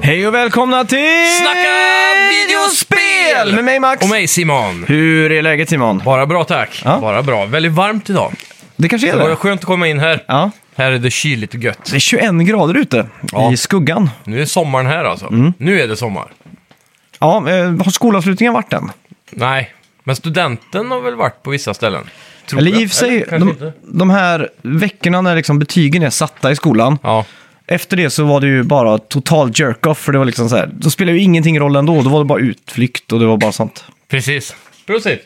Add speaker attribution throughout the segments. Speaker 1: Hej och välkomna till...
Speaker 2: Snacka videospel!
Speaker 1: Med mig Max.
Speaker 2: Och mig Simon.
Speaker 1: Hur är läget Simon?
Speaker 2: Bara bra tack.
Speaker 1: Ja.
Speaker 2: Bara bra. Väldigt varmt idag.
Speaker 1: Det kanske är
Speaker 2: Det var
Speaker 1: det?
Speaker 2: skönt att komma in här.
Speaker 1: Ja.
Speaker 2: Här är det kyligt och gött.
Speaker 1: Det är 21 grader ute
Speaker 2: Ja.
Speaker 1: i skuggan.
Speaker 2: Nu är sommaren här alltså.
Speaker 1: Mm.
Speaker 2: Nu är det sommar.
Speaker 1: Ja, eh, har skolavslutningen varit än?
Speaker 2: Nej, men studenten har väl varit på vissa ställen. Tror
Speaker 1: Eller
Speaker 2: jag.
Speaker 1: i och för sig,
Speaker 2: kanske
Speaker 1: de,
Speaker 2: inte.
Speaker 1: de här veckorna när liksom betygen är satta i skolan.
Speaker 2: Ja.
Speaker 1: Efter det så var det ju bara total jerk-off. För det var liksom så här, då spelade ju ingenting roll ändå. Då var det bara utflykt och det var bara sånt.
Speaker 2: Precis. Prosit.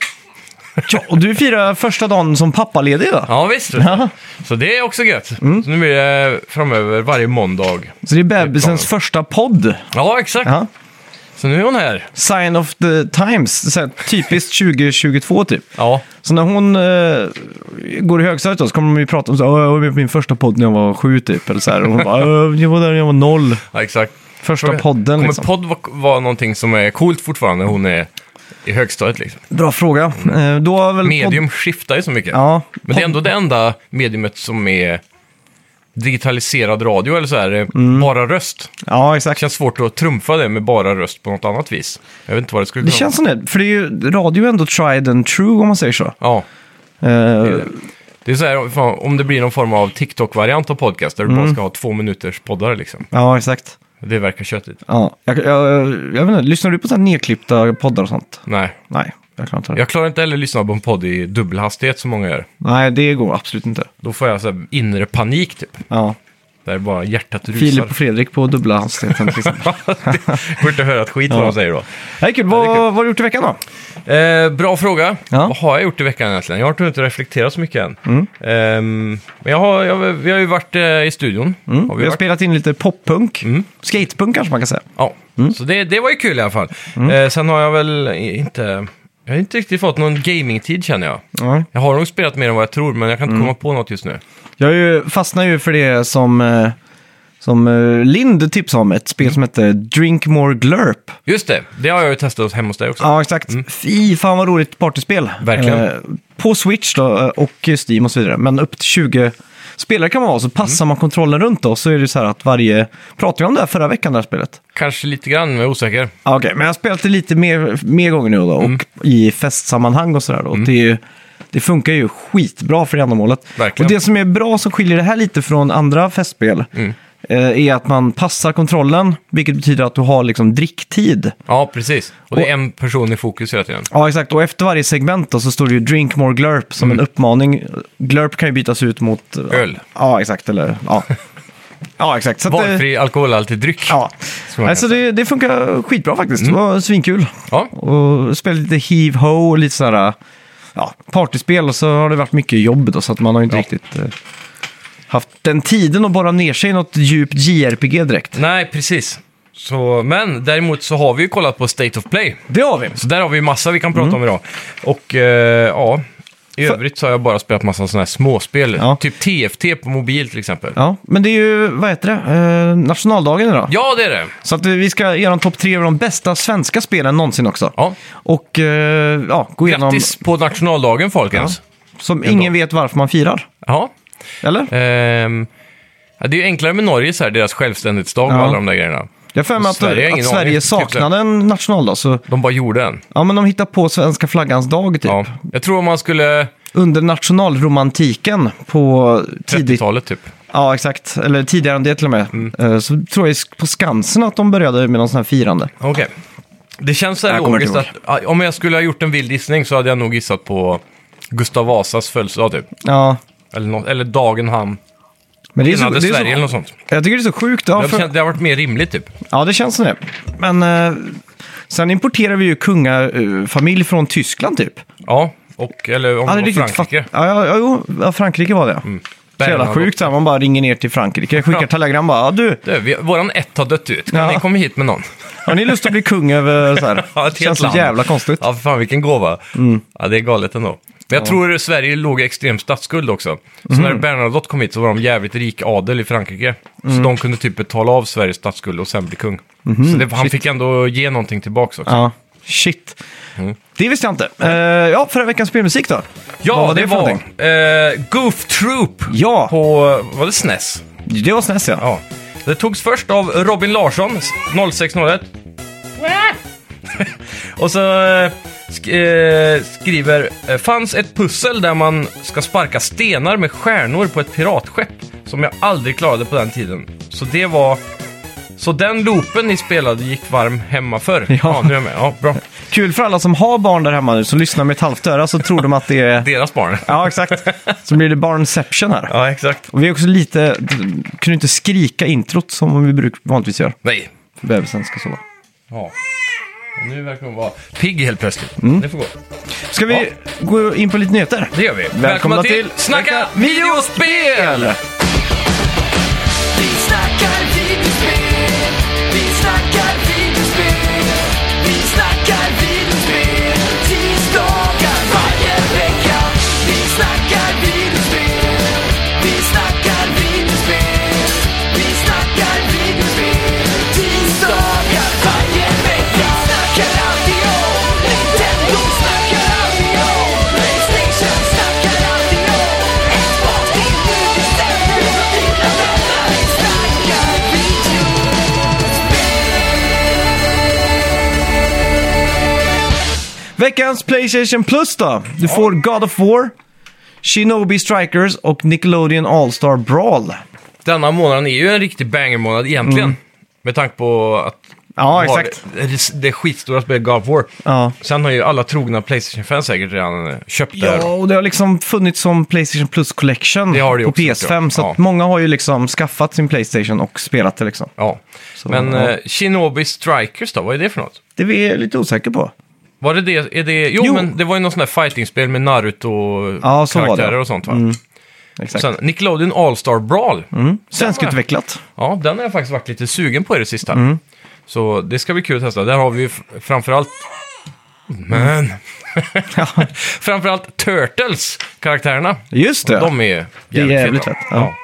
Speaker 1: Ja, och du firar första dagen som pappaledig idag.
Speaker 2: Ja, visst.
Speaker 1: Ja. Mm.
Speaker 2: Så det är också gött. Så nu blir det framöver varje måndag.
Speaker 1: Så det är bebisens första podd.
Speaker 2: Ja, exakt.
Speaker 1: Ja.
Speaker 2: Så nu är hon här.
Speaker 1: Sign of the times. Så här, typiskt 2022 typ.
Speaker 2: Ja,
Speaker 1: Så när hon eh, går i högstadiet då, så kommer de ju prata om så här, "Åh, jag var med på min första podd när jag var sju typ. Eller så här. Och hon bara, "Åh, jag var där när jag var noll.
Speaker 2: ja exakt.
Speaker 1: Första podden
Speaker 2: Kommer
Speaker 1: liksom.
Speaker 2: podd va- vara någonting som är coolt fortfarande när hon är i högstadiet liksom?
Speaker 1: Bra fråga. Eh, då har väl Mm, Podd...
Speaker 2: Medium skiftar ju så mycket.
Speaker 1: Ja.
Speaker 2: Men det är ändå det enda mediumet som är digitaliserad radio eller så här, eh,
Speaker 1: Mm.
Speaker 2: bara röst.
Speaker 1: Ja,
Speaker 2: Det
Speaker 1: exakt.
Speaker 2: känns svårt att trumfa det med bara röst på något annat vis. Jag vet inte vad det skulle
Speaker 1: Det
Speaker 2: kunna
Speaker 1: känns som det. För det är ju radio är ändå tried and true om man säger så. Eh,
Speaker 2: vara. Ja, det. det är så här, fan, om det blir någon form av TikTok-variant av podcast där du
Speaker 1: Mm.
Speaker 2: bara ska ha två minuters poddar liksom.
Speaker 1: ja, exakt.
Speaker 2: Det verkar köttigt.
Speaker 1: Ja. Jag, jag, jag vet inte, lyssnar du på så här nedklippta poddar och sånt?
Speaker 2: Nej,
Speaker 1: Nej, jag klarar inte det.
Speaker 2: jag klarar inte heller att lyssna på en podd i dubbelhastighet som många gör.
Speaker 1: Nej, det går absolut inte.
Speaker 2: Då får jag så här inre panik typ.
Speaker 1: Ja.
Speaker 2: Där bara hjärtat rusar.
Speaker 1: Filip och Fredrik på dubbla hastigheten. till exempel.
Speaker 2: det går inte att höra ett skit vad de säger då.
Speaker 1: Nej, kul. Vad, vad har du gjort i veckan då?
Speaker 2: Eh, bra fråga.
Speaker 1: Ja. Mm.
Speaker 2: Vad har jag gjort i veckan egentligen? Jag har nog inte reflekterat så mycket än. Ehm, men jag har, jag, vi har ju varit eh, i studion. Har
Speaker 1: Vi har
Speaker 2: varit?
Speaker 1: spelat in lite poppunk. Skatepunk kanske man kan säga.
Speaker 2: Ja.
Speaker 1: Mm.
Speaker 2: Så det, det var ju kul i alla fall. Eh, sen har jag väl inte... Jag har inte riktigt fått någon gamingtid känner jag.
Speaker 1: Ja.
Speaker 2: Jag har nog spelat mer än vad jag tror, men jag kan inte
Speaker 1: Mm.
Speaker 2: komma på något just nu.
Speaker 1: Jag är ju, fastnar ju för det som, eh, som eh, Lind tipsade om. Ett spel som heter Drink More Glurp.
Speaker 2: Just det, det har jag ju testat hemma hos dig också.
Speaker 1: Ja, exakt. Fy fan vad roligt partyspel.
Speaker 2: Verkligen.
Speaker 1: Eh, på Switch då, eh, och Steam och så vidare. Men upp till 20 spelare kan man vara. Så passar man kontrollen runt då så är det så här att varje... Pratade vi om det här förra veckan, det här spelet?
Speaker 2: Kanske lite grann, men jag är osäker.
Speaker 1: Ja, Okej, men jag har spelat det lite mer, mer gånger nu då,
Speaker 2: Mm.
Speaker 1: och i festsammanhang och sådär. då. Och det, är ju, det funkar ju skitbra för det ändamålet.
Speaker 2: Verkligen.
Speaker 1: Och det som är bra som skiljer det här lite från andra festspel
Speaker 2: Mm.
Speaker 1: eh, är att man passar kontrollen, vilket betyder att du har liksom dricktid.
Speaker 2: Ja, precis. Och det är en person i fokus hela tiden.
Speaker 1: Ja, exakt. Och efter varje segment då, så står det ju “Drink more glurp” som en uppmaning. Glurp kan ju bytas ut mot...
Speaker 2: Mm. Öl.
Speaker 1: Ja, exakt. Eller, ja. ja, exakt. Så att det-
Speaker 2: Valfri alkoholhaltig dryck.
Speaker 1: Ja.
Speaker 2: man Mm. kan
Speaker 1: Alltså, det, det funkar skitbra faktiskt. Det var svinkul.
Speaker 2: Ja.
Speaker 1: Och spelat lite heave ho och lite sådär ja, partyspel och så har det varit mycket jobb då så att man har inte riktigt eh, haft den tiden att bara ner sig i något djupt JRPG direkt.
Speaker 2: Nej, precis. Så, men däremot så har vi ju kollat på State of Play.
Speaker 1: Det har vi.
Speaker 2: Så där har vi massa vi kan prata om idag. Och eh, ja, i
Speaker 1: Mm. För-
Speaker 2: övrigt så har jag bara spelat massa sådana här småspel.
Speaker 1: Ja.
Speaker 2: Typ TFT på mobil till exempel. Ja,
Speaker 1: Ja, men det är ju, vad heter det, eh, nationaldagen idag.
Speaker 2: det är det.
Speaker 1: Så att vi ska göra en topp tre över de bästa svenska spelen någonsin också.
Speaker 2: Ja.
Speaker 1: Och eh, ja, gå igenom,
Speaker 2: Grattis på nationaldagen folkens.
Speaker 1: som ingen vet varför man firar.
Speaker 2: Ja.
Speaker 1: Eller?
Speaker 2: Ehm, ja, det är ju enklare med Norge så här, deras självständighetsdag och
Speaker 1: Ja.
Speaker 2: alla de där grejerna.
Speaker 1: Jag har för mig att
Speaker 2: Sverige har
Speaker 1: Sverige,
Speaker 2: ingen
Speaker 1: att
Speaker 2: aning,
Speaker 1: Sverige
Speaker 2: typ så här.
Speaker 1: saknade en nationaldag. Så,
Speaker 2: De bara gjorde en.
Speaker 1: ja, men de hittar på svenska flaggans dag typ.
Speaker 2: Ja. Jag tror om man skulle...
Speaker 1: Under nationalromantiken på tidigt...
Speaker 2: 30-talet typ.
Speaker 1: Ja, exakt. Eller tidigare än det till och med.
Speaker 2: Mm.
Speaker 1: Eh, Så tror jag på Skansen att de började med någon sån här firande.
Speaker 2: Okej. Det känns så här
Speaker 1: Jag kommer
Speaker 2: logiskt att
Speaker 1: inte
Speaker 2: ja, om jag skulle ha gjort en vild gissning så hade jag nog gissat på Gustav Vasas födelsedag typ.
Speaker 1: Ja.
Speaker 2: Eller, nå- eller dagen han
Speaker 1: Men det är så,
Speaker 2: enade
Speaker 1: det
Speaker 2: Sverige
Speaker 1: är
Speaker 2: eller
Speaker 1: så,
Speaker 2: något sånt.
Speaker 1: jag tycker det är så sjukt. Ja,
Speaker 2: Det,
Speaker 1: för,
Speaker 2: för... det har varit mer rimligt typ.
Speaker 1: ja det känns som det. Men eh, sen importerar vi ju kungafamilj från Tyskland typ.
Speaker 2: Ja, och, eller om
Speaker 1: Ja, det
Speaker 2: det
Speaker 1: är
Speaker 2: var
Speaker 1: riktigt
Speaker 2: Frankrike.
Speaker 1: fatt- Ja, ja, ja, jo, ja, Frankrike var det. Så jävla
Speaker 2: Bärgarna
Speaker 1: sjukt så här, man bara ringer ner till Frankrike, skickar
Speaker 2: Ja.
Speaker 1: telegram bara, "Ja, du,
Speaker 2: Du, vi, våran ett har dött ut. Kan
Speaker 1: Ja.
Speaker 2: ni komma hit med någon?
Speaker 1: har ni lust att bli kung över så här?
Speaker 2: Ja, ett helt
Speaker 1: Känns så
Speaker 2: land.
Speaker 1: jävla konstigt.
Speaker 2: Ja, för fan vilken gåva.
Speaker 1: Mm.
Speaker 2: Ja, det är galet ändå. Men jag tror Sverige låg i extrem statsskuld också. Så när
Speaker 1: Mm.
Speaker 2: Bernadotte kom hit så var de jävligt rik adel i Frankrike.
Speaker 1: Mm.
Speaker 2: Så de kunde typ betala av Sveriges statsskuld och sen bli kung. Så det, han fick ändå ge någonting tillbaka också.
Speaker 1: Ja, shit. Det visste jag inte. Eh, ja, förra veckans spelmusik då?
Speaker 2: Mm. Ja,
Speaker 1: Vad
Speaker 2: det,
Speaker 1: för
Speaker 2: var
Speaker 1: någonting?
Speaker 2: eh, Goof Troop
Speaker 1: Ja.
Speaker 2: på, eh, var det SNES?
Speaker 1: Det var SNES ja.
Speaker 2: Ja. Det togs först av Robin Larsson, 0601. Och så eh, sk- eh, skriver, eh, fanns ett pussel där man ska sparka stenar med stjärnor på ett piratskepp som jag aldrig klarade på den tiden. Så det var... Så den loopen ni spelade gick varm hemma förr. Ja, nu är jag med. Ja, bra.
Speaker 1: Kul för alla som har barn där hemma nu som lyssnar med ett halvt öra så tror de att det är...
Speaker 2: Deras barn.
Speaker 1: Ja, exakt. Så blir det barnception här.
Speaker 2: Ja, exakt.
Speaker 1: Och vi är också lite, kunde inte skrika introt som vi bruk, vanligtvis gör.
Speaker 2: Nej.
Speaker 1: För bebisen ska sova.
Speaker 2: Ja. Nu verkar hon vara pigg helt plötsligt.
Speaker 1: Mm.
Speaker 2: Det får gå.
Speaker 1: Ska vi gå in på lite nyheter?
Speaker 2: Det gör vi. Välkomna, till, Snacka videospel!
Speaker 3: Vi snackar videospel, vi snackar videospel, vi snackar videospel, tisdagar varje vecka. Vi snackar videospel, vi snackar videospel, vi snackar videospel, tisdagar varje vecka. Snackar alltid om Nintendo, snackar alltid om Playstation, snackar alltid om Xbox, det är nu vi sätter upp dina vänner. Vi snackar video.
Speaker 1: Veckans Playstation Plus då. Du får God of War, Shinobi Strikers och Nickelodeon All-Star Brawl.
Speaker 2: Denna månaden är ju en riktig banger-månad egentligen. Med tanke på att
Speaker 1: Mm. Ja,
Speaker 2: har
Speaker 1: exakt.
Speaker 2: det- det skitstora spelet God of War.
Speaker 1: Ja.
Speaker 2: Sen har ju alla trogna Playstation-fans säkert redan eh, köpt det
Speaker 1: Ja,
Speaker 2: här.
Speaker 1: och det har liksom funnits som Playstation Plus Collection
Speaker 2: Det har det ju
Speaker 1: på
Speaker 2: också, tror
Speaker 1: PS5.
Speaker 2: jag.
Speaker 1: Så att
Speaker 2: Ja.
Speaker 1: många har ju liksom skaffat sin Playstation och spelat det liksom.
Speaker 2: Ja. Men
Speaker 1: ja.
Speaker 2: eh, Shinobi Strikers då, vad är det för något?
Speaker 1: Det är jag lite osäker på.
Speaker 2: Var det det? Är det jo,
Speaker 1: Jo.
Speaker 2: men det var ju någon sån där fighting-spel med
Speaker 1: Ja, så var det. Mm,
Speaker 2: Naruto-karaktärer och sånt va?
Speaker 1: Exakt. Mm.
Speaker 2: Sen Nickelodeon All-Star Brawl.
Speaker 1: Svenskutvecklat.
Speaker 2: Ja, den har jag faktiskt varit lite sugen på i det sista.
Speaker 1: Mm.
Speaker 2: Så det ska bli kul att testa. Där har vi ju f- framförallt... Men... framförallt Turtles-karaktärerna.
Speaker 1: Just det.
Speaker 2: De är jävligt,
Speaker 1: Det är jävligt
Speaker 2: feta.
Speaker 1: fett. Ja.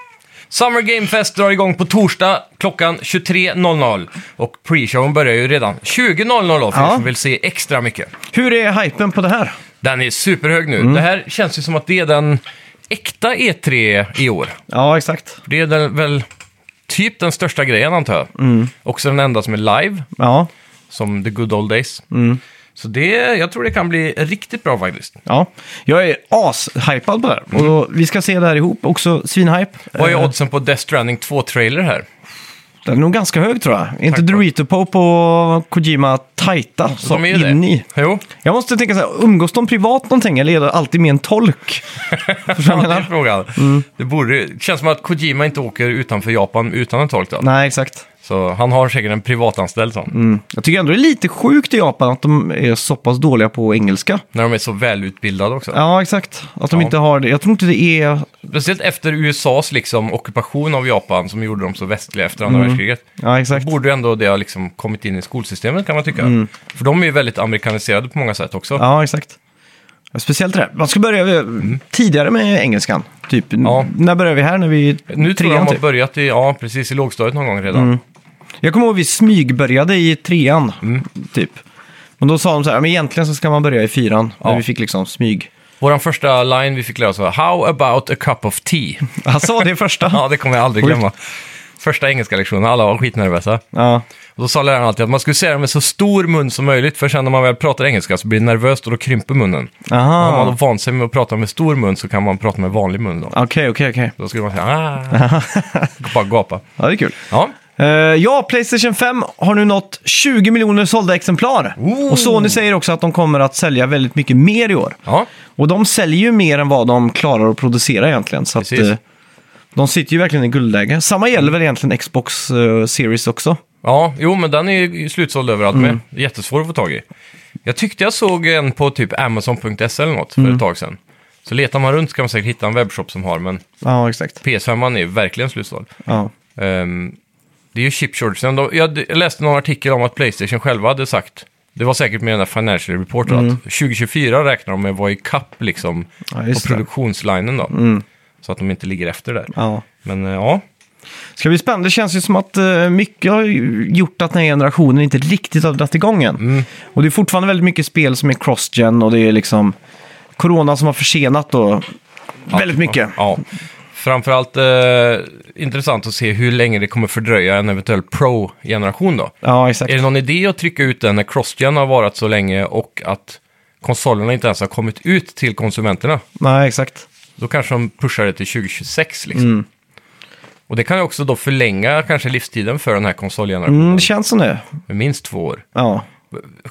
Speaker 2: Summer Game Fest drar igång på torsdag klockan 23.00. Och pre-showen börjar ju redan 20.00 då, för
Speaker 1: Ja.
Speaker 2: er som vill se extra mycket.
Speaker 1: Hur är hypen på det här?
Speaker 2: Den är superhög
Speaker 1: Mm.
Speaker 2: nu. Det här känns ju som att det är den äkta E3 i år.
Speaker 1: Ja, exakt.
Speaker 2: Det är den, väl typ den största grejen antar jag.
Speaker 1: Mm.
Speaker 2: Också den enda som är live,
Speaker 1: Ja,
Speaker 2: som the good old days.
Speaker 1: Mm.
Speaker 2: Så det, jag tror det kan bli riktigt bra faktiskt.
Speaker 1: ja. Jag är ashypad på det här. Och vi ska se det här ihop. Också svinhype.
Speaker 2: Mm. Vad är
Speaker 1: Eh,
Speaker 2: oddsen på Death Stranding 2-trailer här?
Speaker 1: Den är nog ganska hög tror jag. Är inte
Speaker 2: Tack.
Speaker 1: Dorito Pope och Kojima tajta så
Speaker 2: De är ju
Speaker 1: in
Speaker 2: det.
Speaker 1: i?
Speaker 2: Jo,
Speaker 1: Jag måste tänka så här, umgås de privat någonting eller är det alltid med en tolk? Förstår du vad
Speaker 2: ja,
Speaker 1: jag
Speaker 2: det är
Speaker 1: menar?
Speaker 2: frågan.
Speaker 1: Mm.
Speaker 2: Det borde, det känns som att Kojima inte åker utanför Japan utan en tolk då.
Speaker 1: Nej, exakt.
Speaker 2: Så han har säkert en privatanställd sån.
Speaker 1: Mm. Jag tycker ändå det är lite sjukt i Japan att de är så pass dåliga på engelska.
Speaker 2: När de är så välutbildade också.
Speaker 1: Ja, exakt. Att de
Speaker 2: Ja.
Speaker 1: inte har det. Jag tror inte det är...
Speaker 2: Speciellt efter USAs liksom, ockupation av Japan som gjorde dem så västliga efter
Speaker 1: Mm.
Speaker 2: andra världskriget.
Speaker 1: Ja, exakt. Mm.
Speaker 2: borde ju ändå det ha liksom kommit in i skolsystemet kan man tycka. För de är ju väldigt amerikaniserade på många sätt också.
Speaker 1: Ja, exakt. Speciellt det där. Man ska börja eh, tidigare med engelskan. Typ,
Speaker 2: Ja.
Speaker 1: när börjar vi här? När vi är
Speaker 2: Nu tror jag
Speaker 1: trean
Speaker 2: de har
Speaker 1: typ. Mm.
Speaker 2: börjat i, ja, precis i lågstadiet någon gång redan.
Speaker 1: Jag kommer ihåg vi smygbörjade i trean, typ. Men då sa de så här, "Ja, men egentligen så ska man börja i fyran.
Speaker 2: Ja.
Speaker 1: Men vi fick liksom smyg.
Speaker 2: Vår första line vi fick lära oss var “How about a cup of tea?”
Speaker 1: Han sa det i första.
Speaker 2: Ja, det kommer jag aldrig
Speaker 1: Oj.
Speaker 2: glömma. Första engelska lektionen, alla var skitnervösa.
Speaker 1: Ja.
Speaker 2: Och då sa läraren alltid att man skulle säga det med så stor mun som möjligt, för sen när man väl pratar engelska så blir det nervöst och då krymper munnen.
Speaker 1: Aha.
Speaker 2: Om man har vant sig med att prata med stor mun så kan man prata med vanlig mun då.
Speaker 1: Okej, okej, okej.
Speaker 2: Då skulle man säga ah. Bara gapa.
Speaker 1: Ja, det är kul.
Speaker 2: Ja,
Speaker 1: Eh, ja, Playstation 5 har nu nått 20 miljoner sålda exemplar.
Speaker 2: Ooh.
Speaker 1: Och Sony säger också att de kommer att sälja väldigt mycket mer i år.
Speaker 2: ja.
Speaker 1: Och de säljer ju mer än vad de klarar att producera egentligen. Så att,
Speaker 2: Precis.
Speaker 1: eh, de sitter ju verkligen i guldläge. Samma gäller väl egentligen Xbox eh, Series också.
Speaker 2: Ja, jo men den är ju slutsåld överallt
Speaker 1: Mm.
Speaker 2: med.
Speaker 1: Mm.
Speaker 2: Jättesvår att få tag i. Jag tyckte jag såg en på typ Amazon.se eller något för ett tag sedan. Så letar man runt så kan man säkert hitta en webbshop som har, men
Speaker 1: Ja, exakt.
Speaker 2: PS5 är ju verkligen slutsåld.
Speaker 1: Ja.
Speaker 2: Ehm, det är ju chip shortsen. De- Jag d- jag läste någon artikel om att Playstation själva hade sagt, det var säkert med den där Financial Report, då, att 2024 räknar de med att vara i kapp liksom,
Speaker 1: Mm. Ja,
Speaker 2: på
Speaker 1: just det. Mm.
Speaker 2: produktionslinen då. Så att de inte ligger efter där.
Speaker 1: Ja.
Speaker 2: Men eh, ja,
Speaker 1: Ska bli spännande. Det känns ju som att eh, mycket har ju gjort att den här generationen inte riktigt har dragit igång än.
Speaker 2: Mm.
Speaker 1: Och det är fortfarande väldigt mycket spel som är cross-gen och det är liksom corona som har försenat då väldigt mycket.
Speaker 2: Ja. Framförallt eh, intressant att se hur länge det kommer fördröja en eventuell Pro-generation då.
Speaker 1: Ja, exakt.
Speaker 2: Är det någon idé att trycka ut den när CrossGen har varit så länge och att konsolerna inte ens har kommit ut till konsumenterna?
Speaker 1: Nej, exakt.
Speaker 2: Då kanske de pushar det till 2026 liksom.
Speaker 1: Mm.
Speaker 2: Och det kan ju också då förlänga kanske livstiden för den här konsolgenerationen
Speaker 1: Mm, det känns som det.
Speaker 2: med minst två år.
Speaker 1: Ja,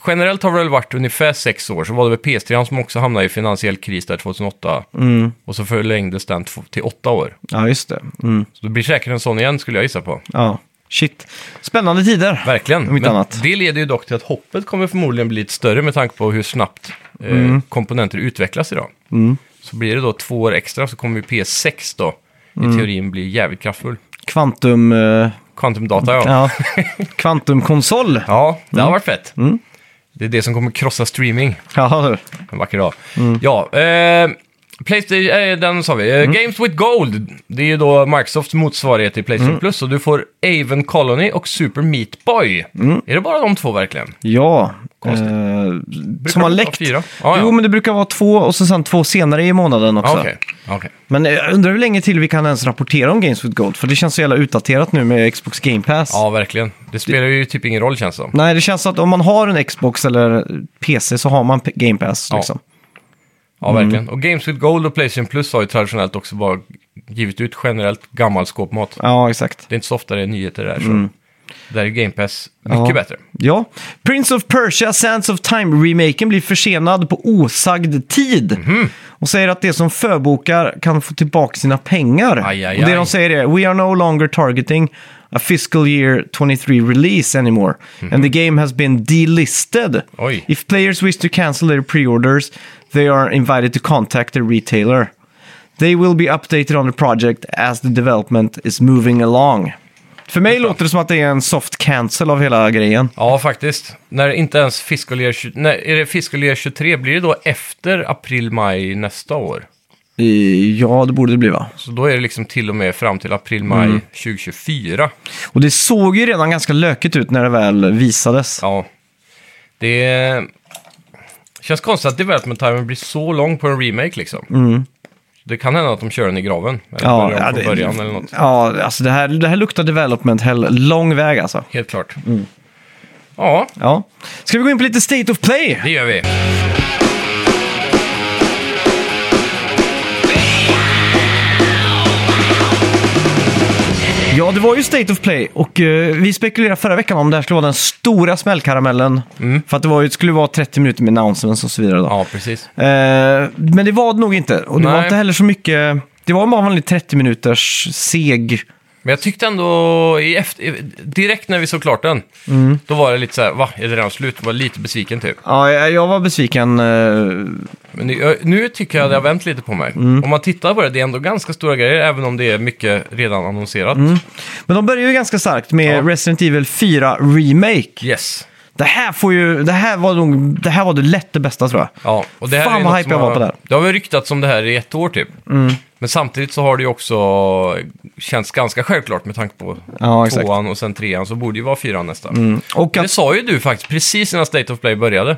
Speaker 2: Generellt har det väl varit ungefär sex år, så var det väl PS3 som också hamnade i finansiell kris där 2008.
Speaker 1: Mm.
Speaker 2: Och så förlängdes den två- till åtta år.
Speaker 1: ja just det. Mm.
Speaker 2: Så det blir säkert en sån igen skulle jag gissa på.
Speaker 1: Ja. Shit. Spännande tider.
Speaker 2: Verkligen.
Speaker 1: Om inte
Speaker 2: Men
Speaker 1: annat.
Speaker 2: Det leder ju dock till att hoppet kommer förmodligen bli lite större med tanke på hur snabbt eh,
Speaker 1: Mm.
Speaker 2: komponenter utvecklas idag. Så blir det då två år extra så kommer ju PS6 då i
Speaker 1: Mm.
Speaker 2: teorin bli jävligt kraftfull.
Speaker 1: Kvantum... eh,
Speaker 2: Kvantumdata ja. ja.
Speaker 1: ja. Mm. Kvantumkonsol.
Speaker 2: det har varit fett. Det är det som kommer krossa streaming.
Speaker 1: Ja, du.
Speaker 2: En vacker dag.
Speaker 1: Mm.
Speaker 2: Ja, eh, Playstation, eh, den sa vi. Eh, Games with Gold. Det är ju då Microsofts motsvarighet till Playstation
Speaker 1: Mm.
Speaker 2: Plus. Och du får Aven Colony och Super Meat Boy.
Speaker 1: Mm.
Speaker 2: Är det bara de två verkligen?
Speaker 1: Ja.
Speaker 2: Konstigt.
Speaker 1: Eh, som har
Speaker 2: det vara
Speaker 1: läckt.
Speaker 2: fyra? Ja, ja.
Speaker 1: Jo, men det brukar vara två och så sen två senare i månaden också.
Speaker 2: Ah, Okej. okej.
Speaker 1: Men eh, jag undrar hur länge till vi kan ens rapportera om Games with Gold, för det känns så jävla utdaterat nu med Xbox Game Pass.
Speaker 2: Ja, verkligen. Det spelar ju typ ingen roll känns det som.
Speaker 1: Nej, det känns så att om man har en Xbox eller PC så har man P- Game Pass.
Speaker 2: Ja.
Speaker 1: Liksom.
Speaker 2: Ja, verkligen. Och Games with Gold och Playstation Plus har ju traditionellt också bara givit ut generellt gammal skåpmat.
Speaker 1: ja, exakt.
Speaker 2: Det är inte så ofta det är nyheter där. Så. Där är Game Pass mycket
Speaker 1: Ja.
Speaker 2: bättre.
Speaker 1: Ja. Prince of Persia Sands of Time-remaken blir försenad på osagd tid.
Speaker 2: Mhm.
Speaker 1: Och säger att de som förbokar kan få tillbaka sina pengar.
Speaker 2: Aj, aj,
Speaker 1: och det
Speaker 2: aj.
Speaker 1: de säger är “We are no longer targeting a fiscal year 23 release anymore. And the game has been delisted.
Speaker 2: Oj.
Speaker 1: If players wish to cancel their pre-orders, they are invited to contact the retailer. They will be updated on the project as the development is moving along. För mig låter det som att det är en soft cancel av hela grejen.
Speaker 2: Ja, faktiskt. När inte ens fiscal year, 20 när, är det fiscal year 23, blir det då efter april, maj nästa år?
Speaker 1: Eh, Ja, det borde det bli va?
Speaker 2: Så då är det liksom till och med fram till april, maj 2024.
Speaker 1: Och det såg ju redan ganska lökigt ut när det väl visades.
Speaker 2: Ja. Det känns konstigt att development timen blir så lång på en remake liksom. Det kan hända att de kör den i graven. Eller
Speaker 1: Mm. Ja,
Speaker 2: börjar om
Speaker 1: ja,
Speaker 2: från
Speaker 1: det-
Speaker 2: början eller något.
Speaker 1: Ja, alltså det här, det här luktar development hell lång väg alltså.
Speaker 2: Helt klart. Ja,
Speaker 1: Ja. Ska vi gå in på lite State of Play?
Speaker 2: det gör vi.
Speaker 1: Ja, det var ju State of Play och eh, vi spekulerade förra veckan om det här skulle vara den stora smällkaramellen.
Speaker 2: Mm.
Speaker 1: För att det, var, ju- det skulle vara 30 minuter med announcements och så vidare. Då.
Speaker 2: Ja, precis.
Speaker 1: Eh, men det var det nog inte. Och det var
Speaker 2: Nej.
Speaker 1: inte heller så mycket... Det var bara en vanlig 30 minuters seg...
Speaker 2: Men jag tyckte ändå, i efter, direkt när vi såg klart den,
Speaker 1: Mm.
Speaker 2: då var det lite så här, va, är det redan slut? Jag var lite besviken typ.
Speaker 1: Ja, jag, jag var besviken. eh,
Speaker 2: Men nu, nu tycker jag det har vänt lite på mig.
Speaker 1: Mm.
Speaker 2: Om man tittar på det, det är ändå ganska stora grejer, även om det är mycket redan annonserat.
Speaker 1: Mm. men de började ju ganska starkt med
Speaker 2: Ja.
Speaker 1: Resident Evil 4 Remake.
Speaker 2: Yes.
Speaker 1: Det här får ju... Det här var nog... Det här var det lätt det bästa tror jag.
Speaker 2: Ja, och det här
Speaker 1: Fan
Speaker 2: är ju
Speaker 1: vad
Speaker 2: något
Speaker 1: hype
Speaker 2: som
Speaker 1: jag var
Speaker 2: har-
Speaker 1: på Mm. det här.
Speaker 2: Det har väl ryktats om det här i ett år typ. Men samtidigt så har det ju också känts ganska självklart med tanke på
Speaker 1: Ja, exakt. Mm.
Speaker 2: tvåan och sen trean, så borde det ju vara fyran nästa.
Speaker 1: Och
Speaker 2: Det
Speaker 1: att,
Speaker 2: sa ju du faktiskt precis innan State of Play började.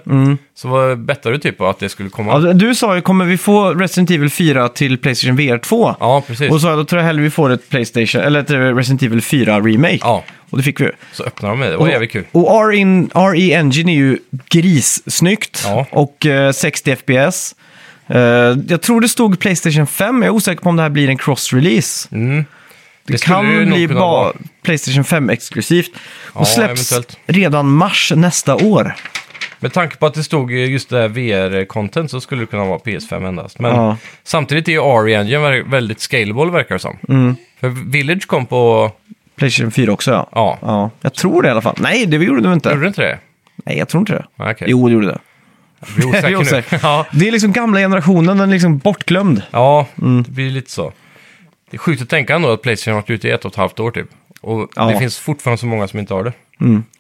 Speaker 2: Så var- bettade du typ på att det skulle komma.
Speaker 1: Mm. ja, du sa ju, kommer vi få Resident Evil 4 till Playstation VR 2?
Speaker 2: Ja, precis.
Speaker 1: Och så sa jag, då tror jag hellre vi får ett Playstation, eller ett Resident Evil 4 Remake.
Speaker 2: Ja.
Speaker 1: Och det fick vi ju.
Speaker 2: Så öppnade de med det, det var jävligt kul.
Speaker 1: Och RE in- RE Engine är ju grissnyggt.
Speaker 2: Ja.
Speaker 1: Och eh, 60 FPS. Eh, jag tror det stod Playstation 5, jag är osäker på om det här blir en cross-release. Det,
Speaker 2: Mm. Det skulle
Speaker 1: kan
Speaker 2: det ju nog
Speaker 1: bli
Speaker 2: kunna
Speaker 1: bara
Speaker 2: vara.
Speaker 1: Playstation 5-exklusivt. Och
Speaker 2: Ja,
Speaker 1: släpps
Speaker 2: eventuellt.
Speaker 1: redan mars nästa år.
Speaker 2: Med tanke på att det stod just det här VR-content så skulle det kunna vara PS5 endast. Men
Speaker 1: Ja.
Speaker 2: samtidigt är ju RE Engine ver- väldigt scalable verkar det som.
Speaker 1: Mm.
Speaker 2: För Village kom på...
Speaker 1: Playstation 4 också ja.
Speaker 2: Ja.
Speaker 1: Jag tror det i alla fall. Nej, det gjorde du inte.
Speaker 2: Gjorde det inte det?
Speaker 1: Nej, jag tror inte det.
Speaker 2: Nej, okej.
Speaker 1: Jo, det gjorde det.
Speaker 2: Vi är osäkra
Speaker 1: Jag är
Speaker 2: nu.
Speaker 1: osäker.
Speaker 2: Ja,
Speaker 1: Det är liksom gamla generationen, den är liksom bortglömd.
Speaker 2: ja
Speaker 1: Mm.
Speaker 2: det blir lite så. Det är sjukt att tänka ändå att Playstation har varit ute i ett och ett halvt år typ. Och det
Speaker 1: Ja. Mm.
Speaker 2: finns fortfarande så många som inte har det.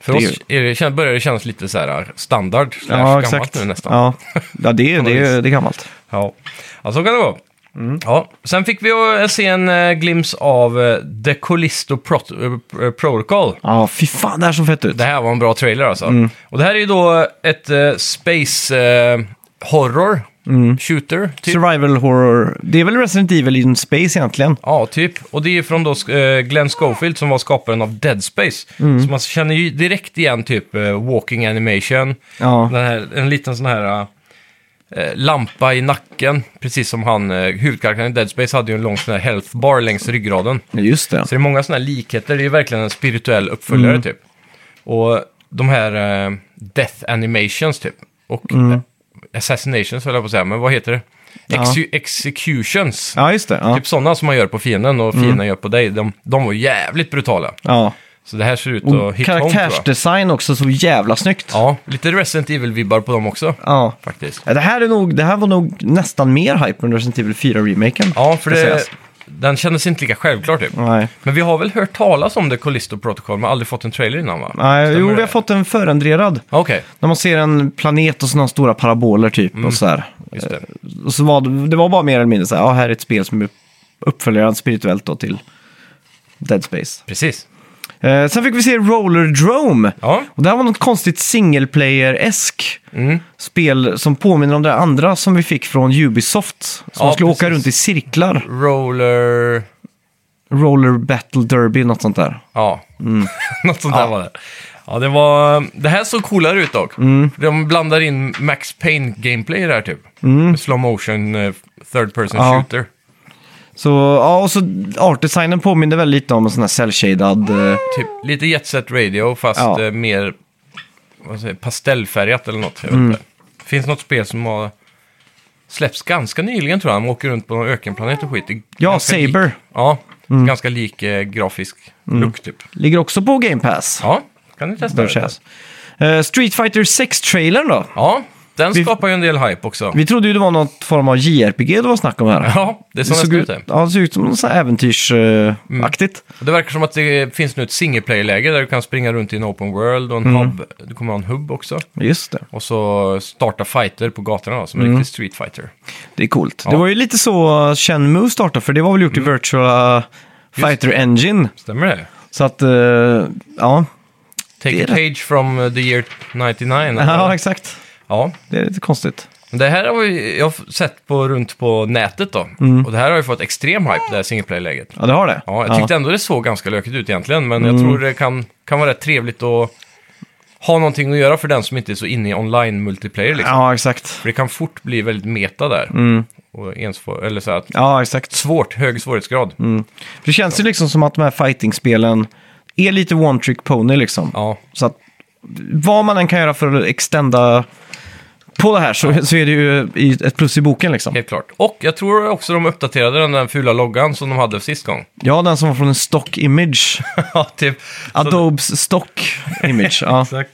Speaker 2: För
Speaker 1: det är
Speaker 2: oss är det, kän- börjar det kännas lite så här äh, standard, slash
Speaker 1: Ja,
Speaker 2: gammalt
Speaker 1: exakt.
Speaker 2: nu nästan.
Speaker 1: Ja, ja det, är, det,
Speaker 2: vis.
Speaker 1: är, det är gammalt.
Speaker 2: Ja, ja så kan det vara.
Speaker 1: Mm.
Speaker 2: Ja. Sen fick vi eh, se en eh, glims av eh, The Callisto Prot- eh, Protocol.
Speaker 1: Ja, fy fan, det här såg fett ut.
Speaker 2: Det här var en bra trailer alltså.
Speaker 1: Mm.
Speaker 2: Och det här är ju då ett eh, space eh, horror
Speaker 1: Mm.
Speaker 2: shooter. Typ.
Speaker 1: Survival horror. Det är väl Resident Evil in space egentligen.
Speaker 2: Ja, typ. Och det är ju från då eh, Glenn Schofield som var skaparen av Dead Space. Så man känner ju direkt igen typ eh, Walking Animation.
Speaker 1: Ja.
Speaker 2: Den här, en liten sån här eh, lampa i nacken. Precis som han, eh, huvudkaraktären i Dead Space hade ju en lång sån här health bar längs ryggraden.
Speaker 1: Just det.
Speaker 2: Så det är många sådana här likheter. Det är verkligen en spirituell uppföljare typ. Och de här eh, Death Animations typ. Och eh, Assassinations höll jag på att säga, men vad heter det? Exu- Executions.
Speaker 1: Ja, just det. Ja. Mm.
Speaker 2: Typ sådana som man gör på fienden och fienden gör på dig. De, de var jävligt brutala.
Speaker 1: ja.
Speaker 2: Så det här ser ut
Speaker 1: Och
Speaker 2: att hit home tror jag.
Speaker 1: karaktärsdesign också så jävla snyggt.
Speaker 2: Ja, lite Resident Evil-vibbar på dem också.
Speaker 1: Ja.
Speaker 2: Faktiskt.
Speaker 1: Ja, Det här, är nog, det här var nog nästan mer hype än Resident Evil 4-remaken.
Speaker 2: Ja, för
Speaker 1: ska
Speaker 2: det,
Speaker 1: sägas.
Speaker 2: den kändes inte lika självklar typ.
Speaker 1: Nej.
Speaker 2: Men vi har väl hört talas om det Callisto Protocol, men aldrig fått en trailer innan va?
Speaker 1: Nej,
Speaker 2: Stämmer
Speaker 1: jo, vi
Speaker 2: det?
Speaker 1: har fått en förändrad.
Speaker 2: Ja, Okej,
Speaker 1: När man ser en planet och sådana stora paraboler typ.
Speaker 2: Mm.
Speaker 1: Och så här.
Speaker 2: just det.
Speaker 1: Och så var det, det var bara mer eller mindre så här, ja, här är ett spel som är uppföljaren spirituellt då till Dead Space.
Speaker 2: Precis.
Speaker 1: Eh, sen fick vi se Roller Drome.
Speaker 2: Ja.
Speaker 1: Och det här var något konstigt single player-esk
Speaker 2: Mm.
Speaker 1: spel som påminner om det andra som vi fick från Ubisoft. Som
Speaker 2: Ja,
Speaker 1: man skulle åka
Speaker 2: precis.
Speaker 1: runt i cirklar.
Speaker 2: Roller...
Speaker 1: Roller Battle Derby, något sånt där.
Speaker 2: Ja,
Speaker 1: Mm.
Speaker 2: något sånt där var det. Ja, det var... Det här såg coolare ut dock.
Speaker 1: Mm.
Speaker 2: De blandar in Max Payne-gameplay i det här typ. Mm. Slow motion, eh, third person
Speaker 1: Ja.
Speaker 2: shooter.
Speaker 1: Så, ja, och så artdesignen påminner väl lite om en sån här cell-shaded... Eh,
Speaker 2: Typ lite Jet Set Radio, fast
Speaker 1: Ja.
Speaker 2: eh, mer vad säger, jag, pastellfärgat eller något. Jag vet
Speaker 1: Mm.
Speaker 2: inte. Finns något spel som har släppts ganska nyligen tror jag. Man åker runt på någon ökenplanet och skit. Det är
Speaker 1: ja,
Speaker 2: ganska lik-
Speaker 1: Saber Mm.
Speaker 2: Ja, ganska lik eh, grafisk look typ.
Speaker 1: ligger också på Game Pass.
Speaker 2: Ja, kan ni testa
Speaker 1: bör
Speaker 2: det?
Speaker 1: sägas. Eh, Street Fighter 6-trailern då?
Speaker 2: Ja, den
Speaker 1: Vi-
Speaker 2: skapar ju en del hype också.
Speaker 1: Vi trodde ju det var något form av JRPG det var snack om här.
Speaker 2: Ja, det
Speaker 1: Det
Speaker 2: såg
Speaker 1: såg,
Speaker 2: nästan ut Mm.
Speaker 1: ut,
Speaker 2: det.
Speaker 1: ja, det såg ut som något eh, äventyrsaktigt.
Speaker 2: Och Det verkar som att det finns nu ett single player-läge där du kan springa runt i en open world och en
Speaker 1: Mm.
Speaker 2: hub. Du kommer ha en hub också.
Speaker 1: Just det.
Speaker 2: Och så starta fighter på gatorna då, som
Speaker 1: Mm.
Speaker 2: en riktig street fighter.
Speaker 1: Det är coolt. Det var ju lite så Shenmue startade, för det var väl gjort
Speaker 2: Mm.
Speaker 1: i Virtual Fighter Engine.
Speaker 2: Stämmer det?
Speaker 1: Så att, eh, ja.
Speaker 2: Take
Speaker 1: Det
Speaker 2: a
Speaker 1: är det.
Speaker 2: page from uh, the year 99.
Speaker 1: ja,
Speaker 2: eller?
Speaker 1: exakt.
Speaker 2: ja.
Speaker 1: Det är lite konstigt.
Speaker 2: Det här har vi, jag har sett på, runt på nätet då.
Speaker 1: Mm.
Speaker 2: Och det här har ju fått extrem hype, det här single player-läget.
Speaker 1: Ja, Mm. det har det.
Speaker 2: Ja, jag tyckte ändå det såg ganska lökigt ut egentligen, men jag tror det kan, kan vara rätt trevligt att ha någonting att göra för den som inte är så inne i online-multiplayer. Liksom.
Speaker 1: ja exakt.
Speaker 2: För det kan fort bli väldigt meta där. Och ens, eller så här, att-
Speaker 1: Ja, exakt.
Speaker 2: svårt, hög svårighetsgrad.
Speaker 1: För det känns ju liksom som att de här fighting-spelen är lite one-trick pony liksom.
Speaker 2: Ja.
Speaker 1: Så att vad man än kan göra för att extenda på det här så, så är det ju i- ett plus i boken liksom.
Speaker 2: Helt klart. Och jag tror också de uppdaterade den där fula loggan som de hade sist gång.
Speaker 1: Ja, den som var från en stock image.
Speaker 2: ja, typ. Så,
Speaker 1: Adobes stock image. Ja.
Speaker 2: exakt.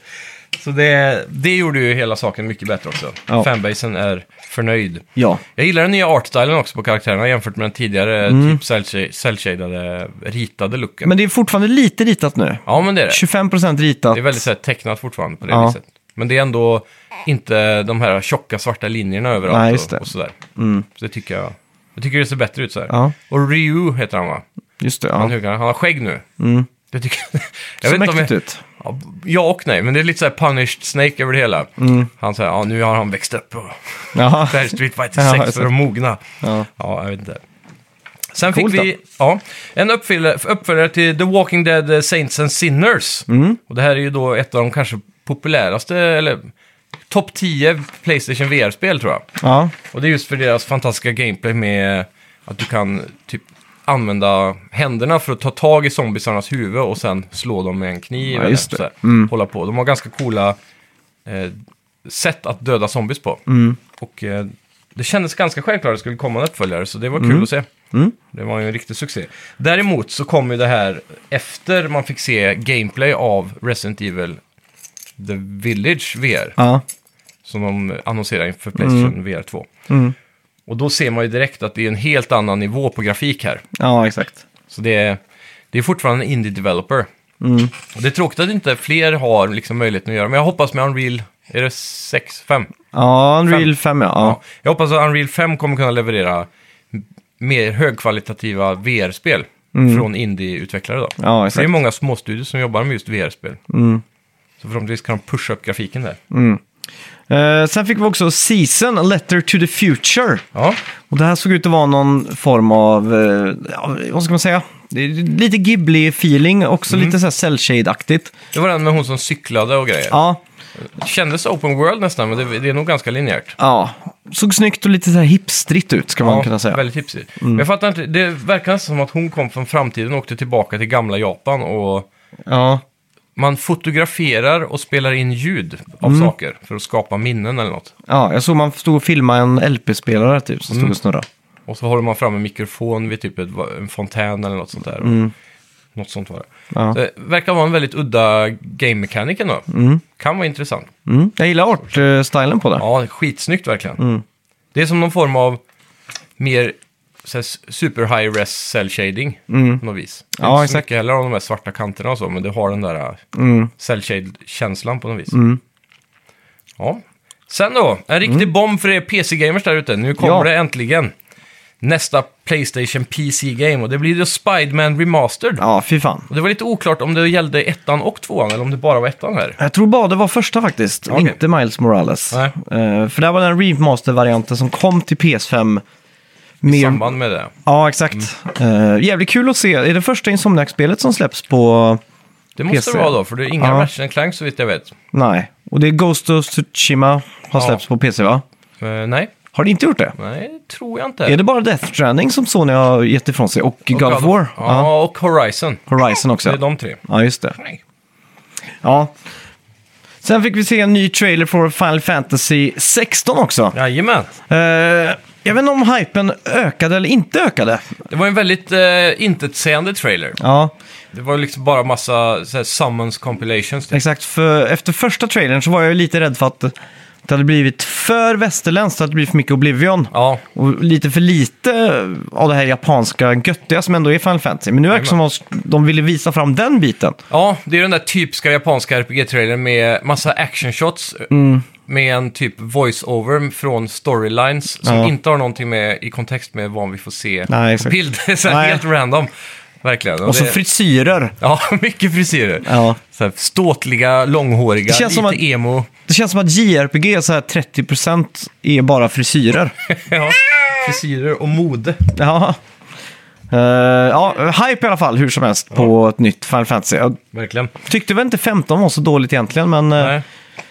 Speaker 2: Så det, det gjorde ju hela saken mycket bättre också.
Speaker 1: Ja.
Speaker 2: Fanbasen är förnöjd.
Speaker 1: ja.
Speaker 2: Jag gillar den nya artstylen också på karaktärerna jämfört med den tidigare typ cell- cell-shadade, ritade looken.
Speaker 1: Men det är fortfarande lite ritat nu.
Speaker 2: Ja, men det är det.
Speaker 1: 25% ritat.
Speaker 2: Det är väldigt så här, tecknat fortfarande på det
Speaker 1: Ja.
Speaker 2: viset. Men det är ändå inte de här tjocka svarta linjerna överallt
Speaker 1: Nej, just det. Mm.
Speaker 2: Och, och sådär. Så det tycker jag. Jag tycker det ser bättre ut så här.
Speaker 1: Ja.
Speaker 2: Och Ryu heter han va?
Speaker 1: Just det,
Speaker 2: Han,
Speaker 1: ja. Mm.
Speaker 2: hugger- han har skägg nu. Det tycker jag.
Speaker 1: Ser
Speaker 2: jag vet inte om
Speaker 1: mäktigt
Speaker 2: jag,
Speaker 1: ut.
Speaker 2: ja, ja och nej, men det är lite så här punished snake över det hela.
Speaker 1: Mm.
Speaker 2: Han säger, ja nu har han växt upp och
Speaker 1: Jaha.
Speaker 2: det här är Street
Speaker 1: Ja,
Speaker 2: Fighter 6
Speaker 1: exakt.
Speaker 2: för att mogna.
Speaker 1: Ja.
Speaker 2: jag vet inte. Sen fick
Speaker 1: Coolt då.
Speaker 2: vi ja, en uppfyllare, uppföljare till The Walking Dead eh, Saints and Sinners.
Speaker 1: Mm.
Speaker 2: Och det här är ju då ett av de kanske populäraste, eller topp 10 Playstation VR-spel tror jag.
Speaker 1: Ja.
Speaker 2: Och det är just för deras fantastiska gameplay med att du kan typ använda händerna för att ta tag i zombiesarnas huvud och sen slå dem med en kniv.
Speaker 1: Ja,
Speaker 2: eller
Speaker 1: just det. Mm.
Speaker 2: sådär. Hålla på. De har ganska coola eh, sätt att döda zombies på.
Speaker 1: Mm.
Speaker 2: Och eh, det kändes ganska självklart att det skulle komma en uppföljare, så det var kul
Speaker 1: Mm.
Speaker 2: att se. Det var ju en riktig succé. Däremot så kom ju det här efter man fick se gameplay av Resident Evil The Village VR.
Speaker 1: ja.
Speaker 2: Som de annonserar inför Playstation
Speaker 1: Mm.
Speaker 2: VR 2. Och då ser man ju direkt att det är en helt annan nivå på grafik här.
Speaker 1: Ja, exakt.
Speaker 2: Så det är, det är fortfarande en indie developer.
Speaker 1: Mm.
Speaker 2: Och det är tråkigt att inte fler har liksom möjligheten att göra, men jag hoppas med Unreal, är det 6, 5?
Speaker 1: Ja, Unreal 5 ja. ja.
Speaker 2: Jag hoppas att Unreal 5 kommer kunna leverera m- mer högkvalitativa VR-spel från indie-utvecklare då.
Speaker 1: Mm. Ja,
Speaker 2: För det är
Speaker 1: exakt. Mm.
Speaker 2: många småstudier som jobbar med just VR-spel. Så förhoppningsvis kan de pusha upp grafiken där.
Speaker 1: Eh, sen fick vi också Season, A Letter to the Future.
Speaker 2: Ja,
Speaker 1: Och det här såg ut att vara någon form av, eh, ja, vad ska man säga? Det är Lite Ghibli-feeling, också
Speaker 2: Mm.
Speaker 1: lite så här cell shade-aktigt.
Speaker 2: det var den med hon som cyklade och grejer.
Speaker 1: Ja,
Speaker 2: Kändes open world nästan, men det, det är nog ganska linjärt.
Speaker 1: ja. Såg snyggt och lite så här hipstrigt ut, ska man kunna säga. Mm.
Speaker 2: väldigt hipsig. Men jag fattar inte, det verkar nästan som att hon kom från framtiden och åkte tillbaka till gamla Japan och
Speaker 1: Ja,
Speaker 2: man fotograferar och spelar in ljud av
Speaker 1: Mm.
Speaker 2: saker för att skapa minnen eller något.
Speaker 1: ja, jag såg man stod och filmade en LP-spelare typ,
Speaker 2: Mm.
Speaker 1: som stod och snurrade.
Speaker 2: Och så håller man fram en mikrofon vid typ ett, en fontän eller något sånt där. Något sånt var det.
Speaker 1: Mm. Ja.
Speaker 2: Så det verkar vara en väldigt udda game mechanic ändå. Kan vara intressant.
Speaker 1: Mm. Jag gillar art-stilen på det.
Speaker 2: Ja, det är skitsnyggt verkligen.
Speaker 1: Mm.
Speaker 2: Det är som någon form av mer så här, super high res cell shading på något vis. Det är
Speaker 1: Mm. Ja,
Speaker 2: inte så
Speaker 1: exakt. Mm.
Speaker 2: mycket heller av de här svarta kanterna och så, men det har den där äh, cell shade-känslan på något vis. Ja. Sen då, en riktig bomb för er PC-gamers där ute. Nu kommer
Speaker 1: Mm. Ja.
Speaker 2: det äntligen. Nästa Playstation PC-game och det blir då Spiderman Remastered.
Speaker 1: Ja, fy fan.
Speaker 2: Och det var lite oklart om det gällde ettan och tvåan eller om det bara var ettan här.
Speaker 1: Jag tror bara det var första faktiskt, och
Speaker 2: Okej.
Speaker 1: inte Miles Morales.
Speaker 2: Nej.
Speaker 1: Eh, för det här var den remaster-varianten som kom till PS5.
Speaker 2: I
Speaker 1: Mer...
Speaker 2: samband med det.
Speaker 1: Ja, exakt.
Speaker 2: Mm.
Speaker 1: Eh, jävligt kul att se. Är det första Insomniac-spelet som släpps på...
Speaker 2: Det måste
Speaker 1: PC.
Speaker 2: det vara då, för det är inga
Speaker 1: Ja.
Speaker 2: Ratchet Clank så vitt jag vet.
Speaker 1: Nej. Och det är Ghost of Tsushima har
Speaker 2: Ja.
Speaker 1: släppts på PC, va?
Speaker 2: Eh, nej,
Speaker 1: Har det inte gjort det?
Speaker 2: nej, tror jag inte.
Speaker 1: Är det bara Death Stranding som Sony har gett ifrån sig? Och God of War? Ja.
Speaker 2: Ja, och Horizon.
Speaker 1: Horizon
Speaker 2: Det är
Speaker 1: också, ja.
Speaker 2: de tre.
Speaker 1: Ja, just det. Ja. Sen fick vi se en ny trailer för Final Fantasy 16 också.
Speaker 2: Jajamän.
Speaker 1: Eh, jag vet inte om hypen ökade eller inte ökade.
Speaker 2: Det var en väldigt eh, intetsägande trailer.
Speaker 1: Ja,
Speaker 2: Det var liksom bara massa så här, summons compilations. Typ.
Speaker 1: exakt. För efter första trailern så var jag ju lite rädd för att det hade blivit för västerländskt, att det blir för mycket Oblivion.
Speaker 2: Ja,
Speaker 1: Och lite för lite av det här japanska göttiga som ändå är Final Fantasy. Men nu verkar det som att de ville visa fram den biten.
Speaker 2: ja, det är den där typiska japanska RPG-trailern med massa action shots. eh,
Speaker 1: Mm.
Speaker 2: Med en typ voice-over från storylines som
Speaker 1: Ja.
Speaker 2: inte har någonting med, i kontext med vad vi får se
Speaker 1: Nej,
Speaker 2: på
Speaker 1: exakt.
Speaker 2: bild. så här,
Speaker 1: Nej.
Speaker 2: helt random. Verkligen.
Speaker 1: Och så
Speaker 2: det-
Speaker 1: frisyrer.
Speaker 2: Ja, mycket frisyrer.
Speaker 1: Ja.
Speaker 2: Så här, ståtliga, långhåriga,
Speaker 1: Det känns
Speaker 2: lite
Speaker 1: som
Speaker 2: emo.
Speaker 1: Det känns som att JRPG, är så här 30% är bara frisyrer.
Speaker 2: ja, frisyrer och mode.
Speaker 1: ja. Eh, ja, hype i alla fall, hur som helst, på ett nytt Final Fantasy. Jag
Speaker 2: Verkligen.
Speaker 1: tyckte väl inte 15 var så dåligt egentligen, men... eh,
Speaker 2: Nej.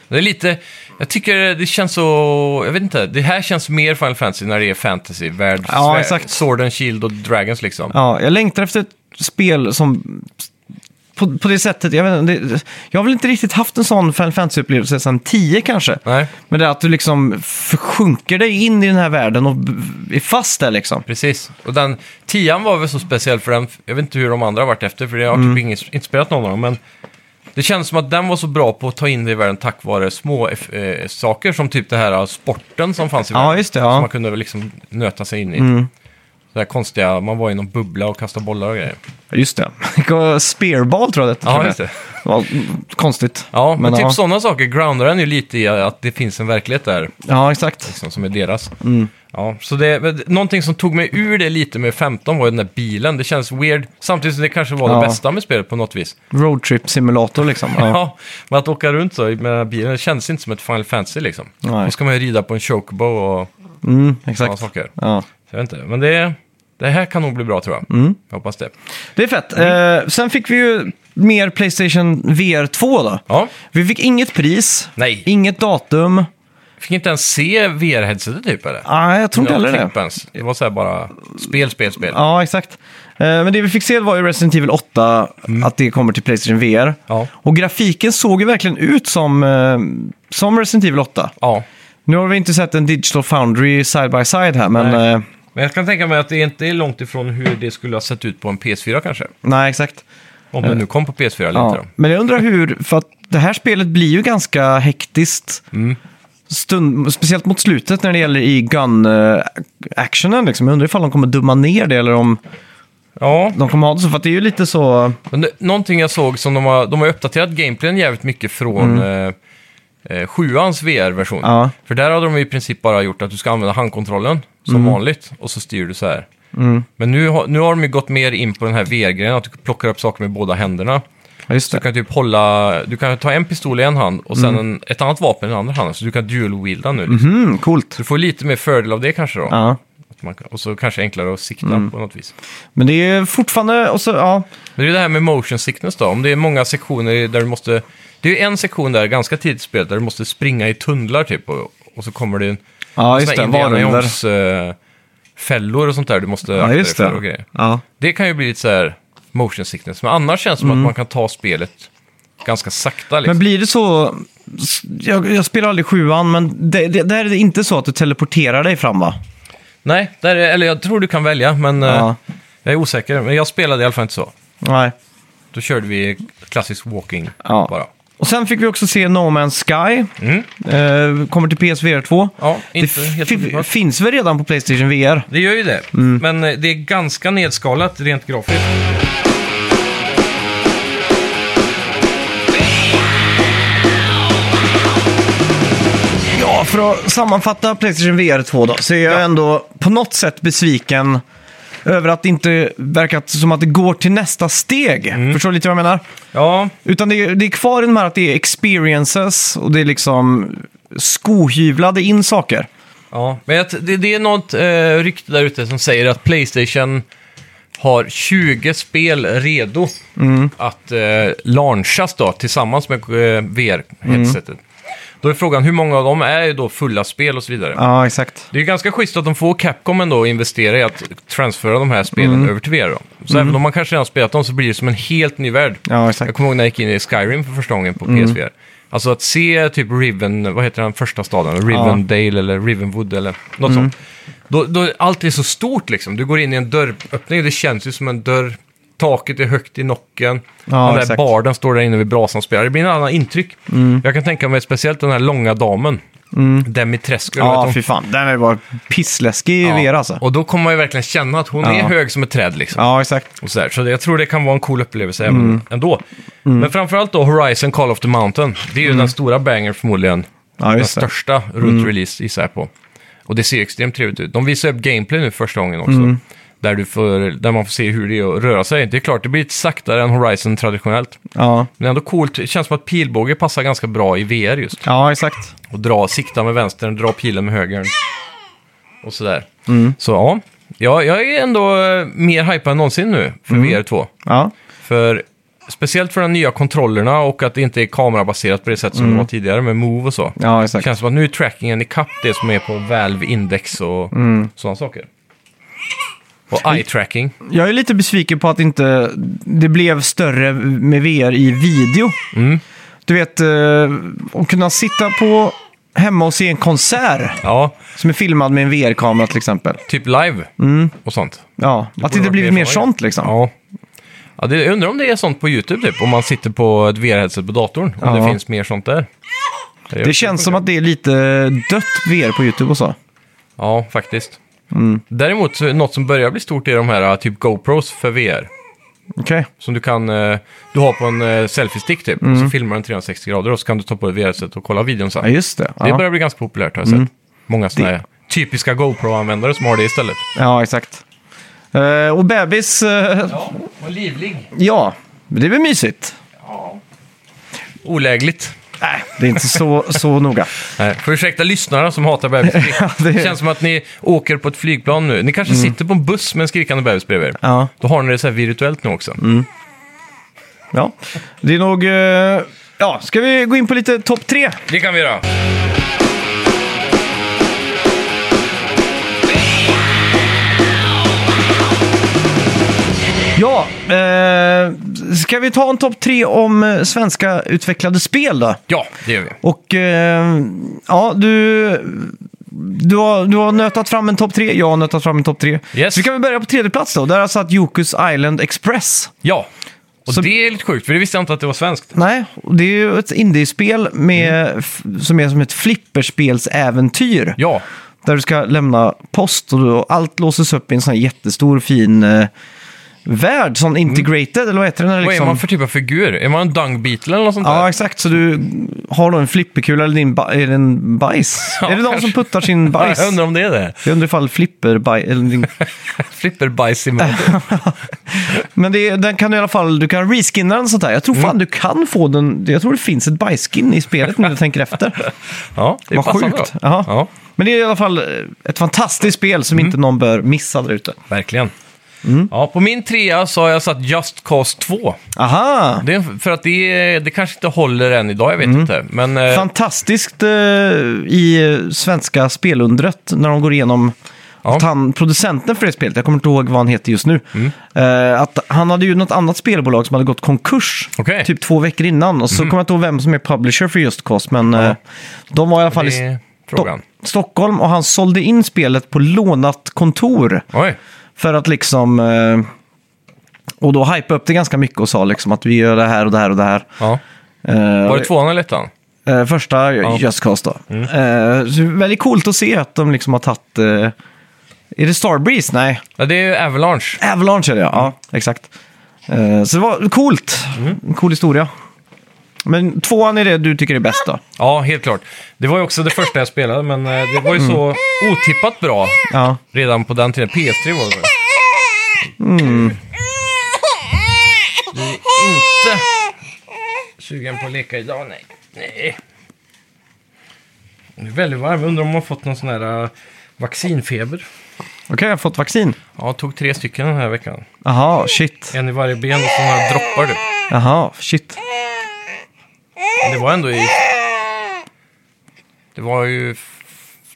Speaker 2: Det är lite, jag tycker det känns så, jag vet inte, det här känns mer Final Fantasy när det är fantasy, värld,
Speaker 1: Ja,
Speaker 2: svär-
Speaker 1: exakt.
Speaker 2: Sword and Shield och Dragons liksom.
Speaker 1: Ja, jag längtar efter ett spel som... På, på det sättet, jag, vet, inte, det, jag har väl inte riktigt haft en sån Final Fantasy-upplevelse sedan 10 kanske.
Speaker 2: Nej,
Speaker 1: Men det är att du liksom försjunker dig in i den här världen och b- är fast där liksom.
Speaker 2: precis. Och den, tian var väl så speciell för den, jag vet inte hur de andra har varit efter, för jag har
Speaker 1: Mm.
Speaker 2: typ ingen, inte spelat någon av dem, men det känns som att den var så bra på att ta in det i världen tack vare små eff- eh, saker som typ det här sporten som fanns i världen.
Speaker 1: Ja, just det.
Speaker 2: Som
Speaker 1: Ja. Mm.
Speaker 2: man kunde liksom nöta sig in i. Det där konstiga, man var i någon bubbla och kastade bollar och grejer.
Speaker 1: Just det. Spearball tror jag det
Speaker 2: Ja, just det.
Speaker 1: Det var konstigt.
Speaker 2: Ja, men, typ
Speaker 1: ja.
Speaker 2: sådana saker groundar den ju lite i att det finns en verklighet där
Speaker 1: Ja, exakt.
Speaker 2: liksom, som är deras.
Speaker 1: Mm.
Speaker 2: Ja, så det, men någonting som tog mig ur det lite med 15 var ju den där bilen. Det känns weird, samtidigt som det kanske var
Speaker 1: Ja.
Speaker 2: det bästa med spelet på något vis.
Speaker 1: Roadtrip-simulator liksom. Ja.
Speaker 2: Ja, men att åka runt så med den här bilen, det känns inte som ett Final Fantasy liksom.
Speaker 1: Nej.
Speaker 2: Då ska man ju rida på en chocobo och
Speaker 1: Mm,
Speaker 2: sådana
Speaker 1: exakt.
Speaker 2: saker.
Speaker 1: Ja.
Speaker 2: Så jag vet inte, men det, det här kan nog bli bra tror jag.
Speaker 1: Mm.
Speaker 2: Jag hoppas det.
Speaker 1: Det är fett. Eh, sen fick vi ju mer Playstation VR 2 då.
Speaker 2: Ja,
Speaker 1: Vi fick inget pris,
Speaker 2: nej.
Speaker 1: inget datum.
Speaker 2: Fick inte ens se VR-headsetet typ eller?
Speaker 1: Nej, jag tror inte
Speaker 2: Några
Speaker 1: heller det.
Speaker 2: klipp ens. Det var så här bara spel, spel, spel.
Speaker 1: Ja, exakt. Eh, Men det vi fick se var ju Resident Evil 8, att det kommer till Playstation VR.
Speaker 2: Mm. Ja.
Speaker 1: Och grafiken såg ju verkligen ut som, eh, som Resident Evil 8.
Speaker 2: ja.
Speaker 1: Nu har vi inte sett en Digital Foundry side by side här, men eh,
Speaker 2: Nej.
Speaker 1: nej,
Speaker 2: Men jag kan tänka mig att det inte är långt ifrån hur det skulle ha sett ut på en PS4 kanske.
Speaker 1: nej exakt.
Speaker 2: Om det nu kom på PS4 eller
Speaker 1: Ja.
Speaker 2: inte då.
Speaker 1: Mm. Men jag undrar hur, för att det här spelet blir ju ganska hektiskt. Stund, speciellt mot slutet när det gäller i gun-actionen. Liksom. Jag undrar ifall de kommer dumma ner det eller om
Speaker 2: Ja,
Speaker 1: de kommer ha det så. För att det är ju lite så...
Speaker 2: men det, någonting jag såg som de har, de har uppdaterat gameplayen jävligt mycket från eh, eh, sjuans VR-version.
Speaker 1: Mm. Ja.
Speaker 2: För där hade de i princip bara gjort att du ska använda handkontrollen som
Speaker 1: Mm.
Speaker 2: vanligt och så styr du så här. Men nu, har- nu har de ju gått mer in på den här VR-grejen, att du plockar upp saker med båda händerna.
Speaker 1: Ja, just
Speaker 2: Du
Speaker 1: det.
Speaker 2: kan typ hålla, du kan ta en pistol i en hand och sen en, ett annat vapen i den andra handen, så du kan dual-wielda nu. Liksom.
Speaker 1: Mm, coolt.
Speaker 2: Du får lite mer fördel av det kanske då.
Speaker 1: Ja. Mm.
Speaker 2: Att man kan- Och så kanske enklare att sikta på något vis.
Speaker 1: Men det är fortfarande... Och så, ja.
Speaker 2: Men det är det här med motion sickness då, om det är många sektioner där du måste... Det är ju en sektion där, ganska tidigt i spelet, där du måste springa i tunnlar typ och, och så kommer det en...
Speaker 1: ja, just det.
Speaker 2: såna här Indiana
Speaker 1: Varulvar.
Speaker 2: Jones, eh, fällor och sånt där du måste
Speaker 1: Ja,
Speaker 2: akta dig
Speaker 1: just
Speaker 2: för och
Speaker 1: det.
Speaker 2: grejer.
Speaker 1: Ja.
Speaker 2: Det kan ju bli lite så här motion sickness, men annars känns det som att man kan ta spelet ganska sakta liksom.
Speaker 1: Mm. Men blir det så... Jag, jag spelar aldrig sjuan, men det, det, där är det inte så att du teleporterar dig fram, va?
Speaker 2: Nej, där är, eller jag tror du kan välja, men eh,
Speaker 1: Ja.
Speaker 2: jag är osäker. Men jag spelade i alla fall inte så.
Speaker 1: Nej.
Speaker 2: Då körde vi klassisk walking
Speaker 1: Ja.
Speaker 2: bara.
Speaker 1: Och sen fick vi också se No Man's Sky.
Speaker 2: Mm.
Speaker 1: Eh, kommer till PSVR 2.
Speaker 2: Ja, inte
Speaker 1: det
Speaker 2: helt
Speaker 1: fi-
Speaker 2: otippat.
Speaker 1: finns väl redan på Playstation VR?
Speaker 2: Det gör ju det, men eh, det är ganska nedskalat rent grafiskt.
Speaker 1: Ja, för att sammanfatta Playstation VR 2 då, så är jag ändå på något sätt besviken över att det inte verkar som att det går till nästa steg.
Speaker 2: Mm.
Speaker 1: Förstår du lite vad jag menar?
Speaker 2: Ja,
Speaker 1: Utan det, är- det är kvar i de här att det är experiences och det är liksom skohyvlade in saker.
Speaker 2: ja. men jag t- det, det är något eh, rykte där ute som säger att Playstation har 20 spel redo att eh, launchas då, tillsammans med eh, VR-headsetet. Då är frågan hur många av dem är ju då fulla spel och så vidare.
Speaker 1: Ja, exakt.
Speaker 2: Det är ju ganska schysst att de får Capcom ändå att investera i att transfera de här spelen
Speaker 1: Mm.
Speaker 2: över till VR. Då. Så även om man kanske redan spelat dem så blir det som en helt ny värld.
Speaker 1: Ja, exakt. Mm.
Speaker 2: Jag kommer ihåg när jag gick in i Skyrim för första gången på PSVR. Alltså att se typ Riven, vad heter den första staden? Rivendale eller Rivenwood eller något
Speaker 1: Mm.
Speaker 2: sånt. Då, då, allt är så stort liksom. Du går in i en dörröppning och det känns ju som en dörr. Taket är högt i nocken.
Speaker 1: Ja,
Speaker 2: den där
Speaker 1: exakt. Mm.
Speaker 2: barden står där inne vid brasan och spelar. Det blir en annan intryck. Jag kan tänka mig speciellt den här långa damen. Demi Tresco. eller vad heter
Speaker 1: Ja,
Speaker 2: hon?
Speaker 1: fy fan. Den är bara pissläskig i VR alltså.
Speaker 2: Och då kommer man ju verkligen känna att hon
Speaker 1: Ja.
Speaker 2: är hög som ett träd liksom.
Speaker 1: Ja, Mm. exakt.
Speaker 2: Och så, där. så det- jag tror det kan vara en cool upplevelse även ändå. Men framförallt då Horizon Call of the Mountain. Det är ju den stora banger förmodligen.
Speaker 1: Mm. Ja,
Speaker 2: den
Speaker 1: just det. Mm.
Speaker 2: största runt release gissar jag på. Och det ser ju extremt trevligt ut. De visar upp gameplay nu första gången också.
Speaker 1: Mm.
Speaker 2: Där, du får, där man får se hur det är att röra sig. Det är klart, det blir lite saktare än Horizon traditionellt.
Speaker 1: Ja.
Speaker 2: Men ändå coolt. Det känns som att pilbåge passar ganska bra i VR just
Speaker 1: ja, exakt.
Speaker 2: och dra, sikta med vänstern, dra pilen med högern. Och sådär.
Speaker 1: Mm.
Speaker 2: Så ja. ja, jag är ändå eh, mer hypad än någonsin nu för
Speaker 1: Mm.
Speaker 2: VR2.
Speaker 1: Ja.
Speaker 2: För, speciellt för de nya kontrollerna och att det inte är kamerabaserat på det sätt som det var tidigare med Move och så.
Speaker 1: Mm. ja,
Speaker 2: det
Speaker 1: exakt.
Speaker 2: känns som att nu är trackingen ikapp det som är på Valve Index och
Speaker 1: Mm.
Speaker 2: sådana saker. Och eye tracking.
Speaker 1: Jag är lite besviken på att inte det blev större med VR i video. Du vet, eh, att kunna sitta på hemma och se en konsert
Speaker 2: Ja,
Speaker 1: som är filmad med en VR-kamera till exempel.
Speaker 2: typ live
Speaker 1: Mm.
Speaker 2: och sånt.
Speaker 1: Ja, att det
Speaker 2: borde
Speaker 1: inte
Speaker 2: varit
Speaker 1: blivit
Speaker 2: mer
Speaker 1: mer
Speaker 2: så,
Speaker 1: sånt liksom.
Speaker 2: Ja. ja det, jag undrar om det är sånt på YouTube, typ, om man sitter på ett VR-headset på datorn. Om
Speaker 1: Ja.
Speaker 2: det finns mer sånt där.
Speaker 1: Det känns som att det är lite dött VR på YouTube och så.
Speaker 2: Ja, faktiskt.
Speaker 1: Mm.
Speaker 2: Däremot, så är något som börjar bli stort är de här typ GoPros för VR.
Speaker 1: Okej.
Speaker 2: Som du kan, eh, du har på en eh, selfie-stick typ, och så filmar den 360 grader och så kan du ta på ett VR-headset och kolla videon sen.
Speaker 1: Mm. Ja, just det.
Speaker 2: Det
Speaker 1: Ja. Mm.
Speaker 2: börjar bli ganska populärt har jag sett. Många sådana här typiska GoPro-användare som har det istället.
Speaker 1: ja, exakt. Eh, och bebis, eh, ja.
Speaker 2: Ja, och livlig.
Speaker 1: det är väl mysigt?
Speaker 2: Olägligt.
Speaker 1: Nej, det är inte så, så noga.
Speaker 2: Nej, för ursäkta lyssnarna som hatar bebisar.
Speaker 1: Ja, det- Mm.
Speaker 2: Det känns som att ni åker på ett flygplan nu. Ni kanske sitter på en buss med en skrikande bebis bredvid er.
Speaker 1: Ja. Mm.
Speaker 2: Då har ni det så här virtuellt nu också.
Speaker 1: Ja, det är nog... eh, Ja, ska vi gå in på lite topp tre?
Speaker 2: Det kan vi göra.
Speaker 1: Ja, eh, ska vi ta en topp tre om eh, svenska utvecklade spel då?
Speaker 2: Ja, det gör vi.
Speaker 1: Och eh, ja, du, du, har, du har nötat fram en topp tre, jag har nötat fram en topp tre.
Speaker 2: Yes.
Speaker 1: Så vi kan väl börja på tredje plats då. Där har jag satt Jokus Island Express.
Speaker 2: Ja, Och
Speaker 1: Så-
Speaker 2: det är lite sjukt, för det visste jag inte att det var svenskt.
Speaker 1: Nej, och det är ju ett indiespel med, f- som är som ett flipperspelsäventyr.
Speaker 2: Ja,
Speaker 1: Där du ska lämna post och då, allt låses upp i en sån här jättestor fin eh, värld. Sån integrated, eller vad heter den? Här,
Speaker 2: Mm. vad är
Speaker 1: liksom?
Speaker 2: man för typ av figur? Är man en dung beetle eller något sånt
Speaker 1: Ja,
Speaker 2: där?
Speaker 1: exakt. Så du har då en flipperkula eller din ba- är det en bajs?
Speaker 2: Ja,
Speaker 1: är det någon som
Speaker 2: kanske.
Speaker 1: puttar sin bajs?
Speaker 2: jag undrar om det är det.
Speaker 1: Jag undrar ifall flipper baj- eller din...
Speaker 2: Flipper bajs
Speaker 1: Äh,
Speaker 2: emot.
Speaker 1: Men det, är- den kan du i alla fall, du kan reskinna den sånt här. Jag tror
Speaker 2: Mm.
Speaker 1: fan du kan få den, jag tror det finns ett bajsskin i spelet nu när jag tänker efter.
Speaker 2: Ja, det är
Speaker 1: Vad
Speaker 2: passande
Speaker 1: sjukt.
Speaker 2: då.
Speaker 1: Jaha.
Speaker 2: Ja,
Speaker 1: Men det är i alla fall eh, ett fantastiskt spel
Speaker 2: Mm.
Speaker 1: som inte någon bör missa där ute.
Speaker 2: verkligen.
Speaker 1: Mm.
Speaker 2: Ja, på min trea så har jag satt Just Cause 2.
Speaker 1: Aha!
Speaker 2: Det är för att det, det kanske inte håller än idag, jag vet
Speaker 1: Mm.
Speaker 2: inte. Men eh,
Speaker 1: Fantastiskt eh, i eh, svenska spelundret när de går igenom
Speaker 2: Ja. Mm.
Speaker 1: att han, producenten för det spelet, jag kommer inte ihåg vad han heter just nu, eh, att han hade ju något annat spelbolag som hade gått konkurs
Speaker 2: Okej. Mm.
Speaker 1: typ två veckor innan. Och så kommer jag inte ihåg vem som är publisher för Just Cause, men eh, de var i alla fall
Speaker 2: det
Speaker 1: i
Speaker 2: är frågan.
Speaker 1: Sto- Stockholm och han sålde in spelet på lånat kontor.
Speaker 2: Oj,
Speaker 1: För att liksom... eh, Och då hypade upp det ganska mycket och sa liksom att vi gör det här och det här och det här.
Speaker 2: ja.
Speaker 1: Eh,
Speaker 2: Var det tvåan eller ettan?
Speaker 1: eh, Första Just Cause då. Eh, så det är väldigt coolt att se att de liksom har tagit... eh, Är det Starbreeze? Nej,
Speaker 2: Ja, det är ju Avalanche.
Speaker 1: Avalanche är det ja. ja exakt. Eh, Så det var coolt. En cool historia. Men tvåan är det du tycker är bäst då?
Speaker 2: Ja, helt klart. Det var ju också det första jag spelade, men eh, det var ju så
Speaker 1: Mm.
Speaker 2: otippat bra
Speaker 1: Ja.
Speaker 2: redan på den tiden. PS3 var det väl? Mm. Inte sugen på att leka idag, nej. Nej. Det är väldigt varmt. Undrar om man har fått någon sån här eh, vaccinfeber.
Speaker 1: Okej, jag har fått vaccin.
Speaker 2: Ja, tog tre stycken den här veckan.
Speaker 1: Aha, shit.
Speaker 2: En i varje ben och så några droppar du.
Speaker 1: Aha, shit.
Speaker 2: Men Det var ändå i... Det var ju f-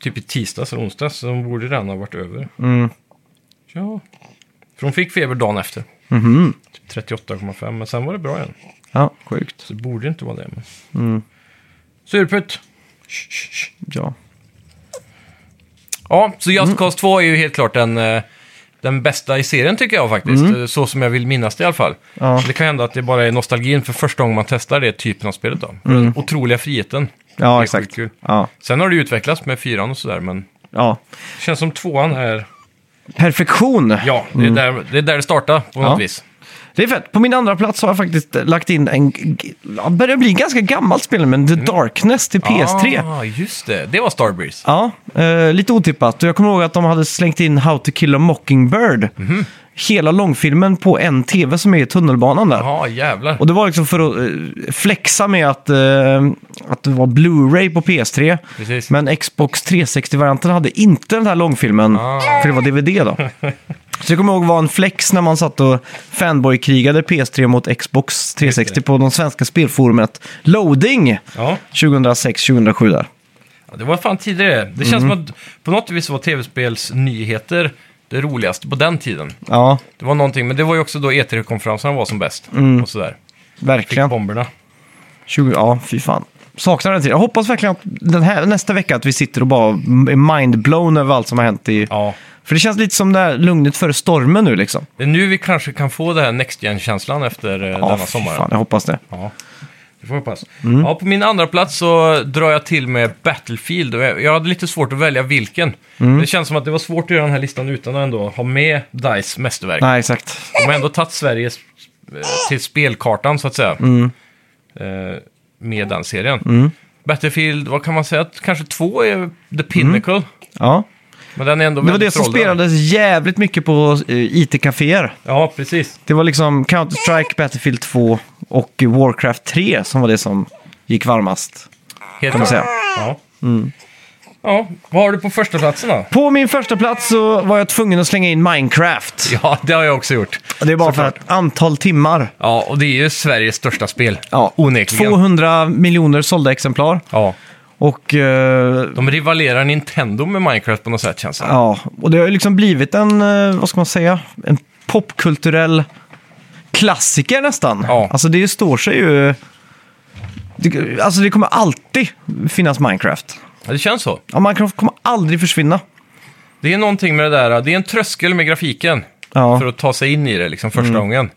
Speaker 2: typ i tisdags eller onsdags, så de borde redan ha varit över. Ja. För hon fick feber dagen efter. Typ 38,5, men sen var det bra igen.
Speaker 1: Ja, sjukt.
Speaker 2: Så det borde inte vara det. Men... Surputt! Sh, sh, sh.
Speaker 1: Ja.
Speaker 2: Ja, så
Speaker 1: Mm.
Speaker 2: Just Cause 2 är ju helt klart den, eh, den bästa i serien tycker jag faktiskt. Eh, Så som jag vill minnas det i alla fall.
Speaker 1: Mm. Ja.
Speaker 2: Det kan hända att det bara är nostalgin för första gången man testar det typen av spelet då. För Den otroliga friheten. Det är
Speaker 1: Mm. Ja,
Speaker 2: sjukt
Speaker 1: exakt.
Speaker 2: kul.
Speaker 1: Ja.
Speaker 2: Sen har det ju utvecklats med fyran och sådär, men
Speaker 1: ja.
Speaker 2: det känns som tvåan är...
Speaker 1: Perfektion.
Speaker 2: Ja, det är där det, är där det startar på något
Speaker 1: Mm. Ja.
Speaker 2: vis.
Speaker 1: Det är fett. På min andra plats har jag faktiskt lagt in en... ja, börjar bli ganska gammalt spel, men The Darkness till PS3.
Speaker 2: Ah, just det. Det var Starbreeze.
Speaker 1: Ja, eh, lite otippat. Och jag kommer ihåg att de hade slängt in How to kill a mockingbird.
Speaker 2: Mhm.
Speaker 1: Hela långfilmen på en tv som är i tunnelbanan där.
Speaker 2: Ja, ah, jävlar.
Speaker 1: Och det var liksom för att eh, flexa med att, eh, att det var Blu-ray på PS3.
Speaker 2: Precis.
Speaker 1: Men Xbox 360-varianten hade inte den här långfilmen,
Speaker 2: Ah.
Speaker 1: för det var DVD då. Så jag kommer ihåg var en flex när man satt och fanboy-krigade PS3 mot Xbox 360 på de svenska spelforumet Loading
Speaker 2: Ja,
Speaker 1: 2006-2007 där.
Speaker 2: det var fan tidigare. Det känns
Speaker 1: Mm.
Speaker 2: som att på något vis var tv-spelsnyheter det roligaste på den tiden.
Speaker 1: Ja,
Speaker 2: Det var någonting, men det var ju också då E3-konferenserna var som bäst.
Speaker 1: Mm.
Speaker 2: Och sådär. Fick
Speaker 1: verkligen.
Speaker 2: bomberna.
Speaker 1: 20, ja, fy fan. Saknar den tiden. Jag hoppas verkligen att den här, nästa vecka att vi sitter och bara är mindblown över allt som har hänt i...
Speaker 2: Ja.
Speaker 1: För det känns lite som det här lugnet före stormen nu liksom.
Speaker 2: Det är nu vi kanske kan få den här Next Gen-känslan efter eh,
Speaker 1: Ja,
Speaker 2: denna
Speaker 1: fy
Speaker 2: sommaren.
Speaker 1: fan, Mm. jag hoppas det.
Speaker 2: Ja, det får jag hoppas. Ja, på min andra plats så drar jag till med Battlefield. Och Jag jag hade lite svårt att välja vilken.
Speaker 1: Mm.
Speaker 2: Det känns som att det var svårt att göra den här listan utan att ändå ha med DICE mästerverk.
Speaker 1: Nej, exakt.
Speaker 2: De har ändå tagit Sverige s- eh, till spelkartan så att säga.
Speaker 1: Mm.
Speaker 2: Eh, Med den serien. Battlefield, vad kan man säga? Att Kanske två är the pinnacle.
Speaker 1: Ja.
Speaker 2: Men den är ändå
Speaker 1: Det var det
Speaker 2: väldigt
Speaker 1: som
Speaker 2: föråldrad.
Speaker 1: spelades jävligt mycket på eh, IT-caféer.
Speaker 2: Ja, precis.
Speaker 1: Det var liksom Counter-Strike, Battlefield 2 och Warcraft 3 som var det som gick varmast.
Speaker 2: Helt
Speaker 1: Kan man
Speaker 2: klart.
Speaker 1: säga. Mm.
Speaker 2: Ja. ja, vad har du på första platsen då?
Speaker 1: På min första plats så var jag tvungen att slänga in Minecraft.
Speaker 2: Ja, det har jag också gjort.
Speaker 1: Det är bara för att antal timmar.
Speaker 2: Ja, och det är ju Sveriges största spel.
Speaker 1: Ja,
Speaker 2: Onekligen.
Speaker 1: 200 miljoner sålda exemplar.
Speaker 2: Ja.
Speaker 1: Och, eh,
Speaker 2: De rivalerar Nintendo med Minecraft på något sätt känns det.
Speaker 1: ja, och det har ju liksom blivit en, eh, vad ska man säga, en popkulturell klassiker nästan.
Speaker 2: Ja.
Speaker 1: Alltså det står sig ju... Det, alltså det kommer alltid finnas Minecraft.
Speaker 2: Ja, Det känns så.
Speaker 1: Ja, Minecraft kommer aldrig försvinna.
Speaker 2: Det är någonting med det där, det är en tröskel med grafiken.
Speaker 1: Ja. Mm.
Speaker 2: För att ta sig in i det liksom första gången.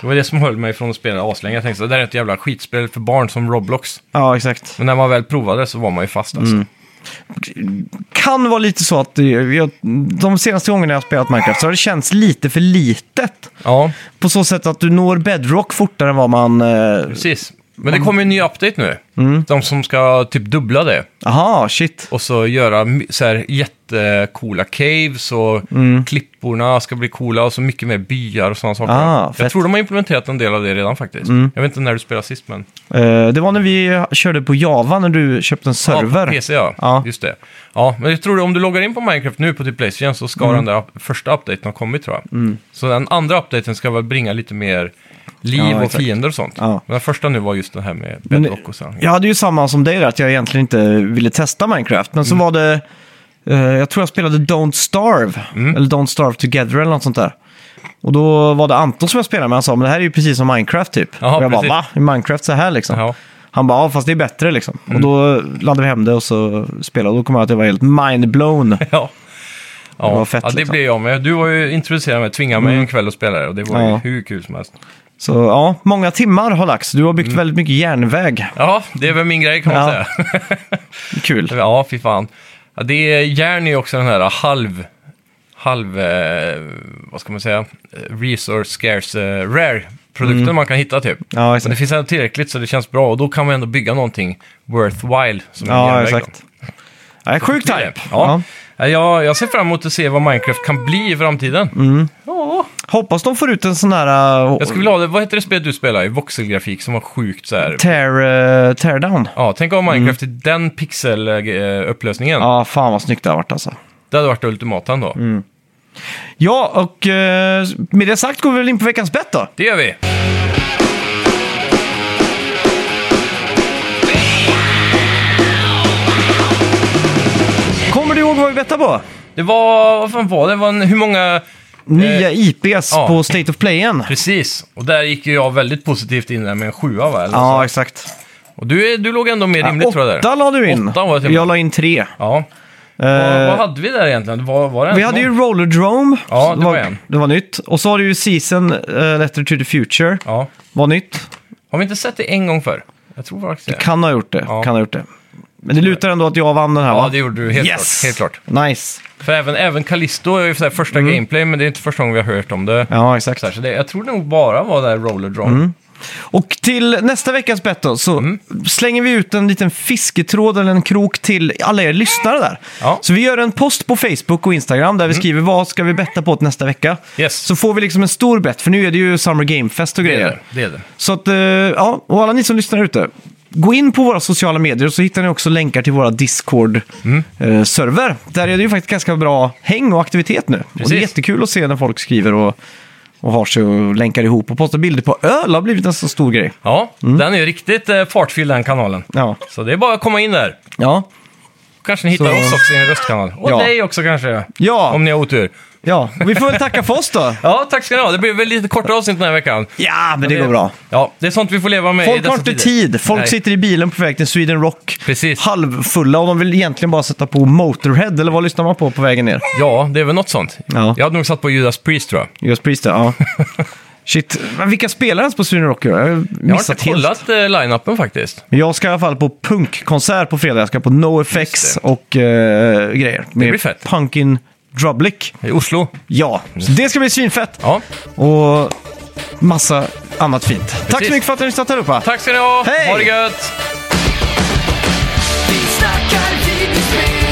Speaker 2: Det var det som höll mig från att spela aslänge. Jag tänkte så det där är ett jävla skitspel för barn som Roblox.
Speaker 1: Ja, exakt.
Speaker 2: Men när man väl provade så var man ju fast alltså.
Speaker 1: Mm. Kan vara lite så att det, jag, de senaste gångerna jag har spelat Minecraft så har det känts lite för litet.
Speaker 2: Ja,
Speaker 1: På så sätt att du når bedrock fortare än vad man... eh,
Speaker 2: precis. Men det kommer ju en ny update nu.
Speaker 1: Mm.
Speaker 2: De som ska typ dubbla det.
Speaker 1: Aha, shit.
Speaker 2: Och så göra my- så här jättecoola caves och
Speaker 1: Mm.
Speaker 2: klipporna ska bli coola och så mycket mer byar och sådana saker.
Speaker 1: Ah, fett. Mm.
Speaker 2: jag tror de har implementerat en del av det redan faktiskt. Jag vet inte när du spelade sist men...
Speaker 1: Eh, det var när vi körde på Java när du köpte en
Speaker 2: Ja,
Speaker 1: server.
Speaker 2: på PC ja.
Speaker 1: Ja.
Speaker 2: Just det. Ja, men jag tror det, om du loggar in på Minecraft nu på typ Playstation så
Speaker 1: Mm.
Speaker 2: ska den där up- första updaten ha kommit tror jag. Så den andra updaten ska väl bringa lite mer liv
Speaker 1: Ja,
Speaker 2: och
Speaker 1: exakt.
Speaker 2: fiender och sånt.
Speaker 1: Ja.
Speaker 2: Men den första nu var just den här med
Speaker 1: Men-
Speaker 2: Bedrock och så.
Speaker 1: Jag hade ju samma som dig där, att jag egentligen inte ville testa Minecraft. Men så
Speaker 2: Mm.
Speaker 1: var det... eh, jag tror jag spelade Don't Starve,
Speaker 2: Mm.
Speaker 1: eller Don't Starve Together eller något sånt där. Och då var det Anton som jag spelade med, han sa men det här är ju precis som Minecraft typ.
Speaker 2: Jaha,
Speaker 1: och jag
Speaker 2: precis.
Speaker 1: bara va? Är Minecraft så här liksom?
Speaker 2: Ja. Mm.
Speaker 1: Han bara ja, fast det är bättre liksom. Och då laddade vi hem det och så spelade och då kom jag att jag var helt mindblown.
Speaker 2: Ja. Ja, det,
Speaker 1: var fett,
Speaker 2: ja, det
Speaker 1: liksom. Mm.
Speaker 2: blev jag med. Du var ju introducerad mig, tvingade mig en kväll att spela det och det var ju
Speaker 1: Ja.
Speaker 2: hur kul som helst.
Speaker 1: Så ja, många timmar har lagts. Du har byggt
Speaker 2: Mm.
Speaker 1: väldigt mycket järnväg.
Speaker 2: Ja, det är väl min grej kan man
Speaker 1: Ja.
Speaker 2: säga.
Speaker 1: Kul.
Speaker 2: Ja, fy fan. Ja, det är, järn är ju också den här halv, halv, eh, vad ska man säga, Eh, resource scarce, eh, rare produkten man kan hitta typ.
Speaker 1: Mm. Ja,
Speaker 2: Men det
Speaker 1: exakt.
Speaker 2: finns ändå tillräckligt så det känns bra och då kan man ändå bygga någonting worthwhile som en
Speaker 1: Ja,
Speaker 2: järnväg. då.
Speaker 1: exakt. Ja, sjuk typ.
Speaker 2: Det är det.
Speaker 1: type.
Speaker 2: Ja. Ja. Jag, jag ser fram emot att se vad Minecraft kan bli i framtiden. Ja.
Speaker 1: Hoppas de får ut en sån här... Uh,
Speaker 2: Jag skulle vilja ha det, vad heter det spel du spelar i? Voxelgrafik som var sjukt så här.
Speaker 1: tear, eh, tear down.
Speaker 2: Ja, tänk om Minecraft i den eh, pixelupplösningen.
Speaker 1: Mm. Ja, Mm. fan vad snyggt det har varit alltså.
Speaker 2: Det hade varit det ultimata ändå.
Speaker 1: Ja, och eh, med det sagt går vi väl in på veckans bett då.
Speaker 2: Det gör vi!
Speaker 1: Kommer du ihåg vad vi bettade på?
Speaker 2: Det var, vad fan var det? det var en, hur många...
Speaker 1: Nya IPs
Speaker 2: Eh, ja.
Speaker 1: på State of Playen.
Speaker 2: Precis, och där gick ju jag väldigt positivt in där med en sjua va? Eller
Speaker 1: Ja,
Speaker 2: så.
Speaker 1: exakt.
Speaker 2: Och du, är- du låg ändå mer rimligt tror jag där.
Speaker 1: Åtta la du in.
Speaker 2: Åtta var det till och med.
Speaker 1: jag la in tre.
Speaker 2: Ja. vad, vad
Speaker 1: Eh,
Speaker 2: hade vi där egentligen? Var, var det
Speaker 1: vi
Speaker 2: ens
Speaker 1: hade
Speaker 2: någon?
Speaker 1: ju Roller Drome.
Speaker 2: Ja,
Speaker 1: Så
Speaker 2: det var en.
Speaker 1: Det var nytt. Och så har du ju Season uh, Letter to the Future.
Speaker 2: Ja.
Speaker 1: Var nytt.
Speaker 2: Har vi inte sett det en gång förr? Jag tror faktiskt det.
Speaker 1: Kan ha gjort det.
Speaker 2: Ja.
Speaker 1: Kan ha gjort det. Men det lutar ändå att jag vann den här
Speaker 2: Ja,
Speaker 1: va?
Speaker 2: det gjorde du helt
Speaker 1: yes!
Speaker 2: klart. Helt klart.
Speaker 1: Nice.
Speaker 2: För även, även Callisto är ju så här första gameplay, men det är inte första gången vi har hört om det.
Speaker 1: Mm. Ja, exakt.
Speaker 2: Så, här, så det, jag tror det nog bara var där Roller Drone.
Speaker 1: Mm. Och till nästa veckas bett då, så
Speaker 2: Mm.
Speaker 1: slänger vi ut en liten fisketråd eller en krok till alla er lyssnare där.
Speaker 2: Ja. Mm.
Speaker 1: Så vi gör en post på Facebook och Instagram där vi skriver vad ska vi betta på till nästa vecka.
Speaker 2: Yes.
Speaker 1: Så får vi liksom en stor bett, för nu är det ju Summer Game Fest och
Speaker 2: Det är
Speaker 1: grejer.
Speaker 2: det. det, är det.
Speaker 1: Så att, eh, ja, och alla ni som lyssnar ute. Gå in på våra sociala medier så hittar ni också länkar till våra
Speaker 2: Mm.
Speaker 1: Discord-server. Där är det ju faktiskt ganska bra häng och aktivitet nu. Och det är
Speaker 2: Precis.
Speaker 1: jättekul att se när folk skriver och, och har sig och länkar ihop och postar bilder på öl. har blivit en så stor grej.
Speaker 2: Ja, den är ju riktigt eh, fartfylld den kanalen.
Speaker 1: Ja.
Speaker 2: Så det är bara att komma in där.
Speaker 1: Ja.
Speaker 2: Kanske ni hittar
Speaker 1: Så-
Speaker 2: oss också i en röstkanal. Och
Speaker 1: Ja.
Speaker 2: dig också kanske.
Speaker 1: Ja.
Speaker 2: Om ni har otur.
Speaker 1: ja, vi får väl tacka för oss då.
Speaker 2: Ja, tack ska ni ha. Det blir väl lite kortare avsnitt den här veckan.
Speaker 1: Ja, men det går bra.
Speaker 2: Ja, det är sånt vi får leva med i
Speaker 1: Folk
Speaker 2: dessa
Speaker 1: har inte
Speaker 2: tider.
Speaker 1: tid. Folk
Speaker 2: alltså, Nej.
Speaker 1: sitter i bilen på väg till Sweden Rock.
Speaker 2: Precis.
Speaker 1: Halvfulla och de vill egentligen bara sätta på Motorhead, eller vad lyssnar man på på vägen ner?
Speaker 2: Ja, det är väl något sånt.
Speaker 1: Ja.
Speaker 2: Jag hade nog satt på Judas Priest tror jag.
Speaker 1: Just Priest, ja. Shit, men vilka spelar ens på Sweden Rock? i år? Jag har
Speaker 2: Jag har
Speaker 1: missat
Speaker 2: inte
Speaker 1: helt.
Speaker 2: kollat eh, line-upen faktiskt.
Speaker 1: Men jag ska i alla fall på punkkonsert på fredag. Jag ska på NoFX
Speaker 2: Just
Speaker 1: och eh, grejer. Med
Speaker 2: blir fett.
Speaker 1: Punkin Drublic.
Speaker 2: I Oslo.
Speaker 1: Ja, så det ska bli svinfett.
Speaker 2: Ja,
Speaker 1: Och massa annat fint. Tack så
Speaker 2: Precis.
Speaker 1: mycket för att ni har lyssnat allihopa.
Speaker 2: tack ska ni ha.
Speaker 1: Hej!
Speaker 2: Ha det gött!
Speaker 3: Vi snackar videospel,